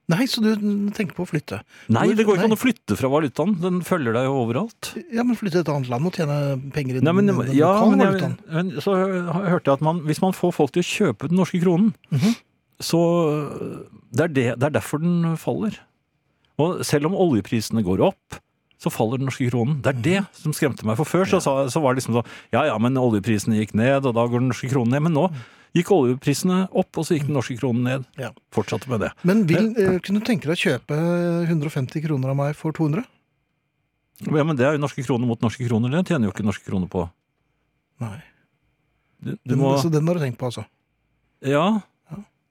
[SPEAKER 2] Nei, så du tenker på å flytte?
[SPEAKER 3] Nei,
[SPEAKER 2] Hvor-
[SPEAKER 3] det går ikke
[SPEAKER 2] nei.
[SPEAKER 3] an å flytte fra valutaen. Den følger deg jo overalt.
[SPEAKER 2] Ja, men flytte til et annet land og tjene penger i
[SPEAKER 3] Nei, men,
[SPEAKER 2] den, den
[SPEAKER 3] ja,
[SPEAKER 2] lokale
[SPEAKER 3] men, jeg,
[SPEAKER 2] valutaen?
[SPEAKER 3] men så hø- hørte jeg at man, hvis man får folk til å kjøpe den norske kronen,
[SPEAKER 2] Mhm.
[SPEAKER 3] så det er, det, det er derfor den faller. Og selv om oljeprisene går opp, så faller den norske kronen. Det er det som skremte meg. For før så, sa- så var det liksom sånn Ja ja, men oljeprisen gikk ned, og da går den norske kronen ned. Men nå gikk oljeprisene opp, og så gikk den norske kronen ned.
[SPEAKER 2] Ja.
[SPEAKER 3] Fortsatte med det.
[SPEAKER 2] Men vil, eh, kunne du tenke deg å kjøpe 150 kroner av meg for 200?
[SPEAKER 3] Ja, Men det er jo norske kroner mot norske kroner. Det tjener jo ikke norske kroner på.
[SPEAKER 2] Nei.
[SPEAKER 3] Du, du
[SPEAKER 2] Den,
[SPEAKER 3] må
[SPEAKER 2] Så den har du tenkt på, altså?
[SPEAKER 3] Ja.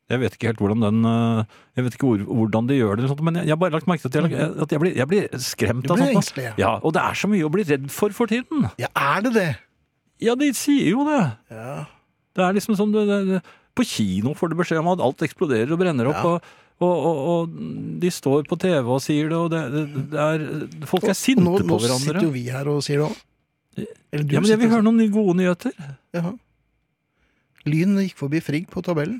[SPEAKER 3] Jeg vet ikke helt hvordan den øh, Jeg vet ikke hvor, hvordan de gjør det, eller sånt, men jeg jeg har bare lagt merke til at jeg, at jeg, blir, jeg blir skremt
[SPEAKER 2] Mm. Du
[SPEAKER 3] av
[SPEAKER 2] blir
[SPEAKER 3] sånt. da.
[SPEAKER 2] engstelig, ja.
[SPEAKER 3] Ja, og det er så mye å bli redd for for tiden.
[SPEAKER 2] Ja, er det det?
[SPEAKER 3] Ja, de sier jo det.
[SPEAKER 2] Ja.
[SPEAKER 3] Det er liksom sånn det, det, det- på kino får du beskjed om at alt eksploderer og brenner opp. og og, og, og de står på TV og sier det, og det, det, det er, folk er sinte
[SPEAKER 2] nå,
[SPEAKER 3] på
[SPEAKER 2] nå
[SPEAKER 3] hverandre.
[SPEAKER 2] sitter jo vi her og sier det òg.
[SPEAKER 3] Ja, men Jeg vil høre noen nye gode nyheter.
[SPEAKER 2] Jaha. Lyn gikk forbi Frigg på tabellen.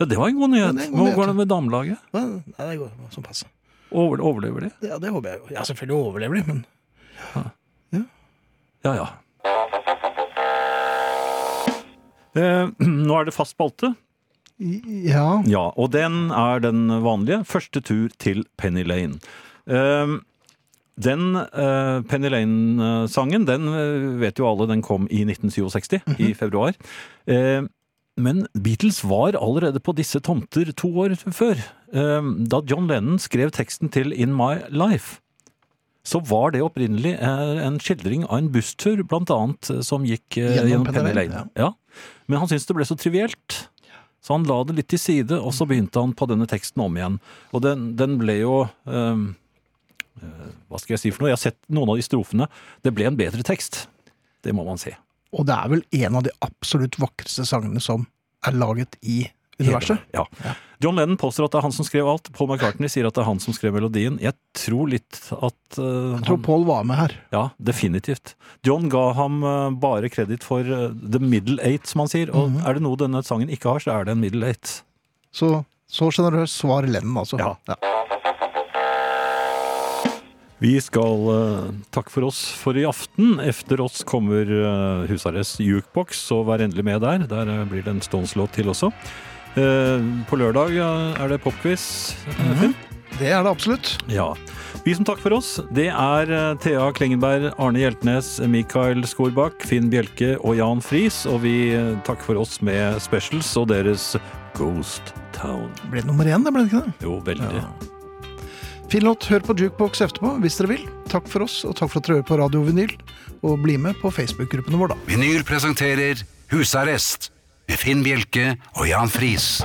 [SPEAKER 3] Ja, Det var en god nyhet.
[SPEAKER 2] det er en god
[SPEAKER 3] Hvordan
[SPEAKER 2] nyhet.
[SPEAKER 3] går det med damelaget?
[SPEAKER 2] Nei, nei, det går sånn passe.
[SPEAKER 3] Over, overlever de?
[SPEAKER 2] Ja, det håper jeg jo. Ja, selvfølgelig overlever de, men
[SPEAKER 3] Ja, ja. Eh, nå er det fast spalte.
[SPEAKER 2] I- Ja.
[SPEAKER 3] Ja, og den er den vanlige. Første tur til Penny Lane. Eh, den eh, Penny Lane-sangen, den eh, vet jo alle, den kom i 1967, i februar. Eh, men Beatles var allerede på disse tomter to år før. Eh, da John Lennon skrev teksten til In My Life, så var det opprinnelig eh, en skildring av en busstur, blant annet, eh, som gikk eh, gjennom, Penny Lane. Ja. Men han syntes det ble så trivielt. Så han la det litt til side, og så begynte han på denne teksten om igjen. Og den, den ble jo ehm, eh, Hva skal jeg si for noe? Jeg har sett noen av de strofene. Det ble en bedre tekst. Det må man si.
[SPEAKER 2] Og det er vel en av de absolutt vakreste sangene som er laget i universet.
[SPEAKER 3] Ja. John Lennon påstår at det er han som skrev alt. Paul McCartney sier at det er han som skrev melodien. Jeg tror litt at eh,
[SPEAKER 2] Jeg tror
[SPEAKER 3] han,
[SPEAKER 2] Pål var med her.
[SPEAKER 3] Ja, definitivt. John ga ham eh, bare kreditt for eh, the middle eight, som han sier.
[SPEAKER 2] Mhm.
[SPEAKER 3] Og er det noe denne sangen ikke har, så er det en middle eight.
[SPEAKER 2] Så så sjenerøst svar Lennon, altså.
[SPEAKER 3] Ja. Vi skal eh, takke for oss for i aften. Efter oss kommer uh, Husarrest jukebox, så vær endelig med der. Der eh, blir det en Stones-låt til også. Eh, på lørdag eh, er det popquiz.
[SPEAKER 2] Mhm.
[SPEAKER 3] eh, Finn?
[SPEAKER 2] Det er det absolutt.
[SPEAKER 3] Ja. Vi som takker for oss, det er eh, Thea Klengenberg, Arne Hjeltnes, Mikael Skorbakk, Finn Bjelke og Jan Friis. Og vi eh, takker for oss med specials og deres Ghost Town.
[SPEAKER 2] Ble det nummer én, det ble det ikke det?
[SPEAKER 3] Jo, veldig.
[SPEAKER 2] Fin låt. Hør på Jukebox etterpå hvis dere vil. Takk for oss, og takk for at dere hører på Radio Vinyl. Og bli med på Facebook-gruppene våre, da.
[SPEAKER 1] Vinyl presenterer Husarrest med Finn Bjelke og Jan Friis.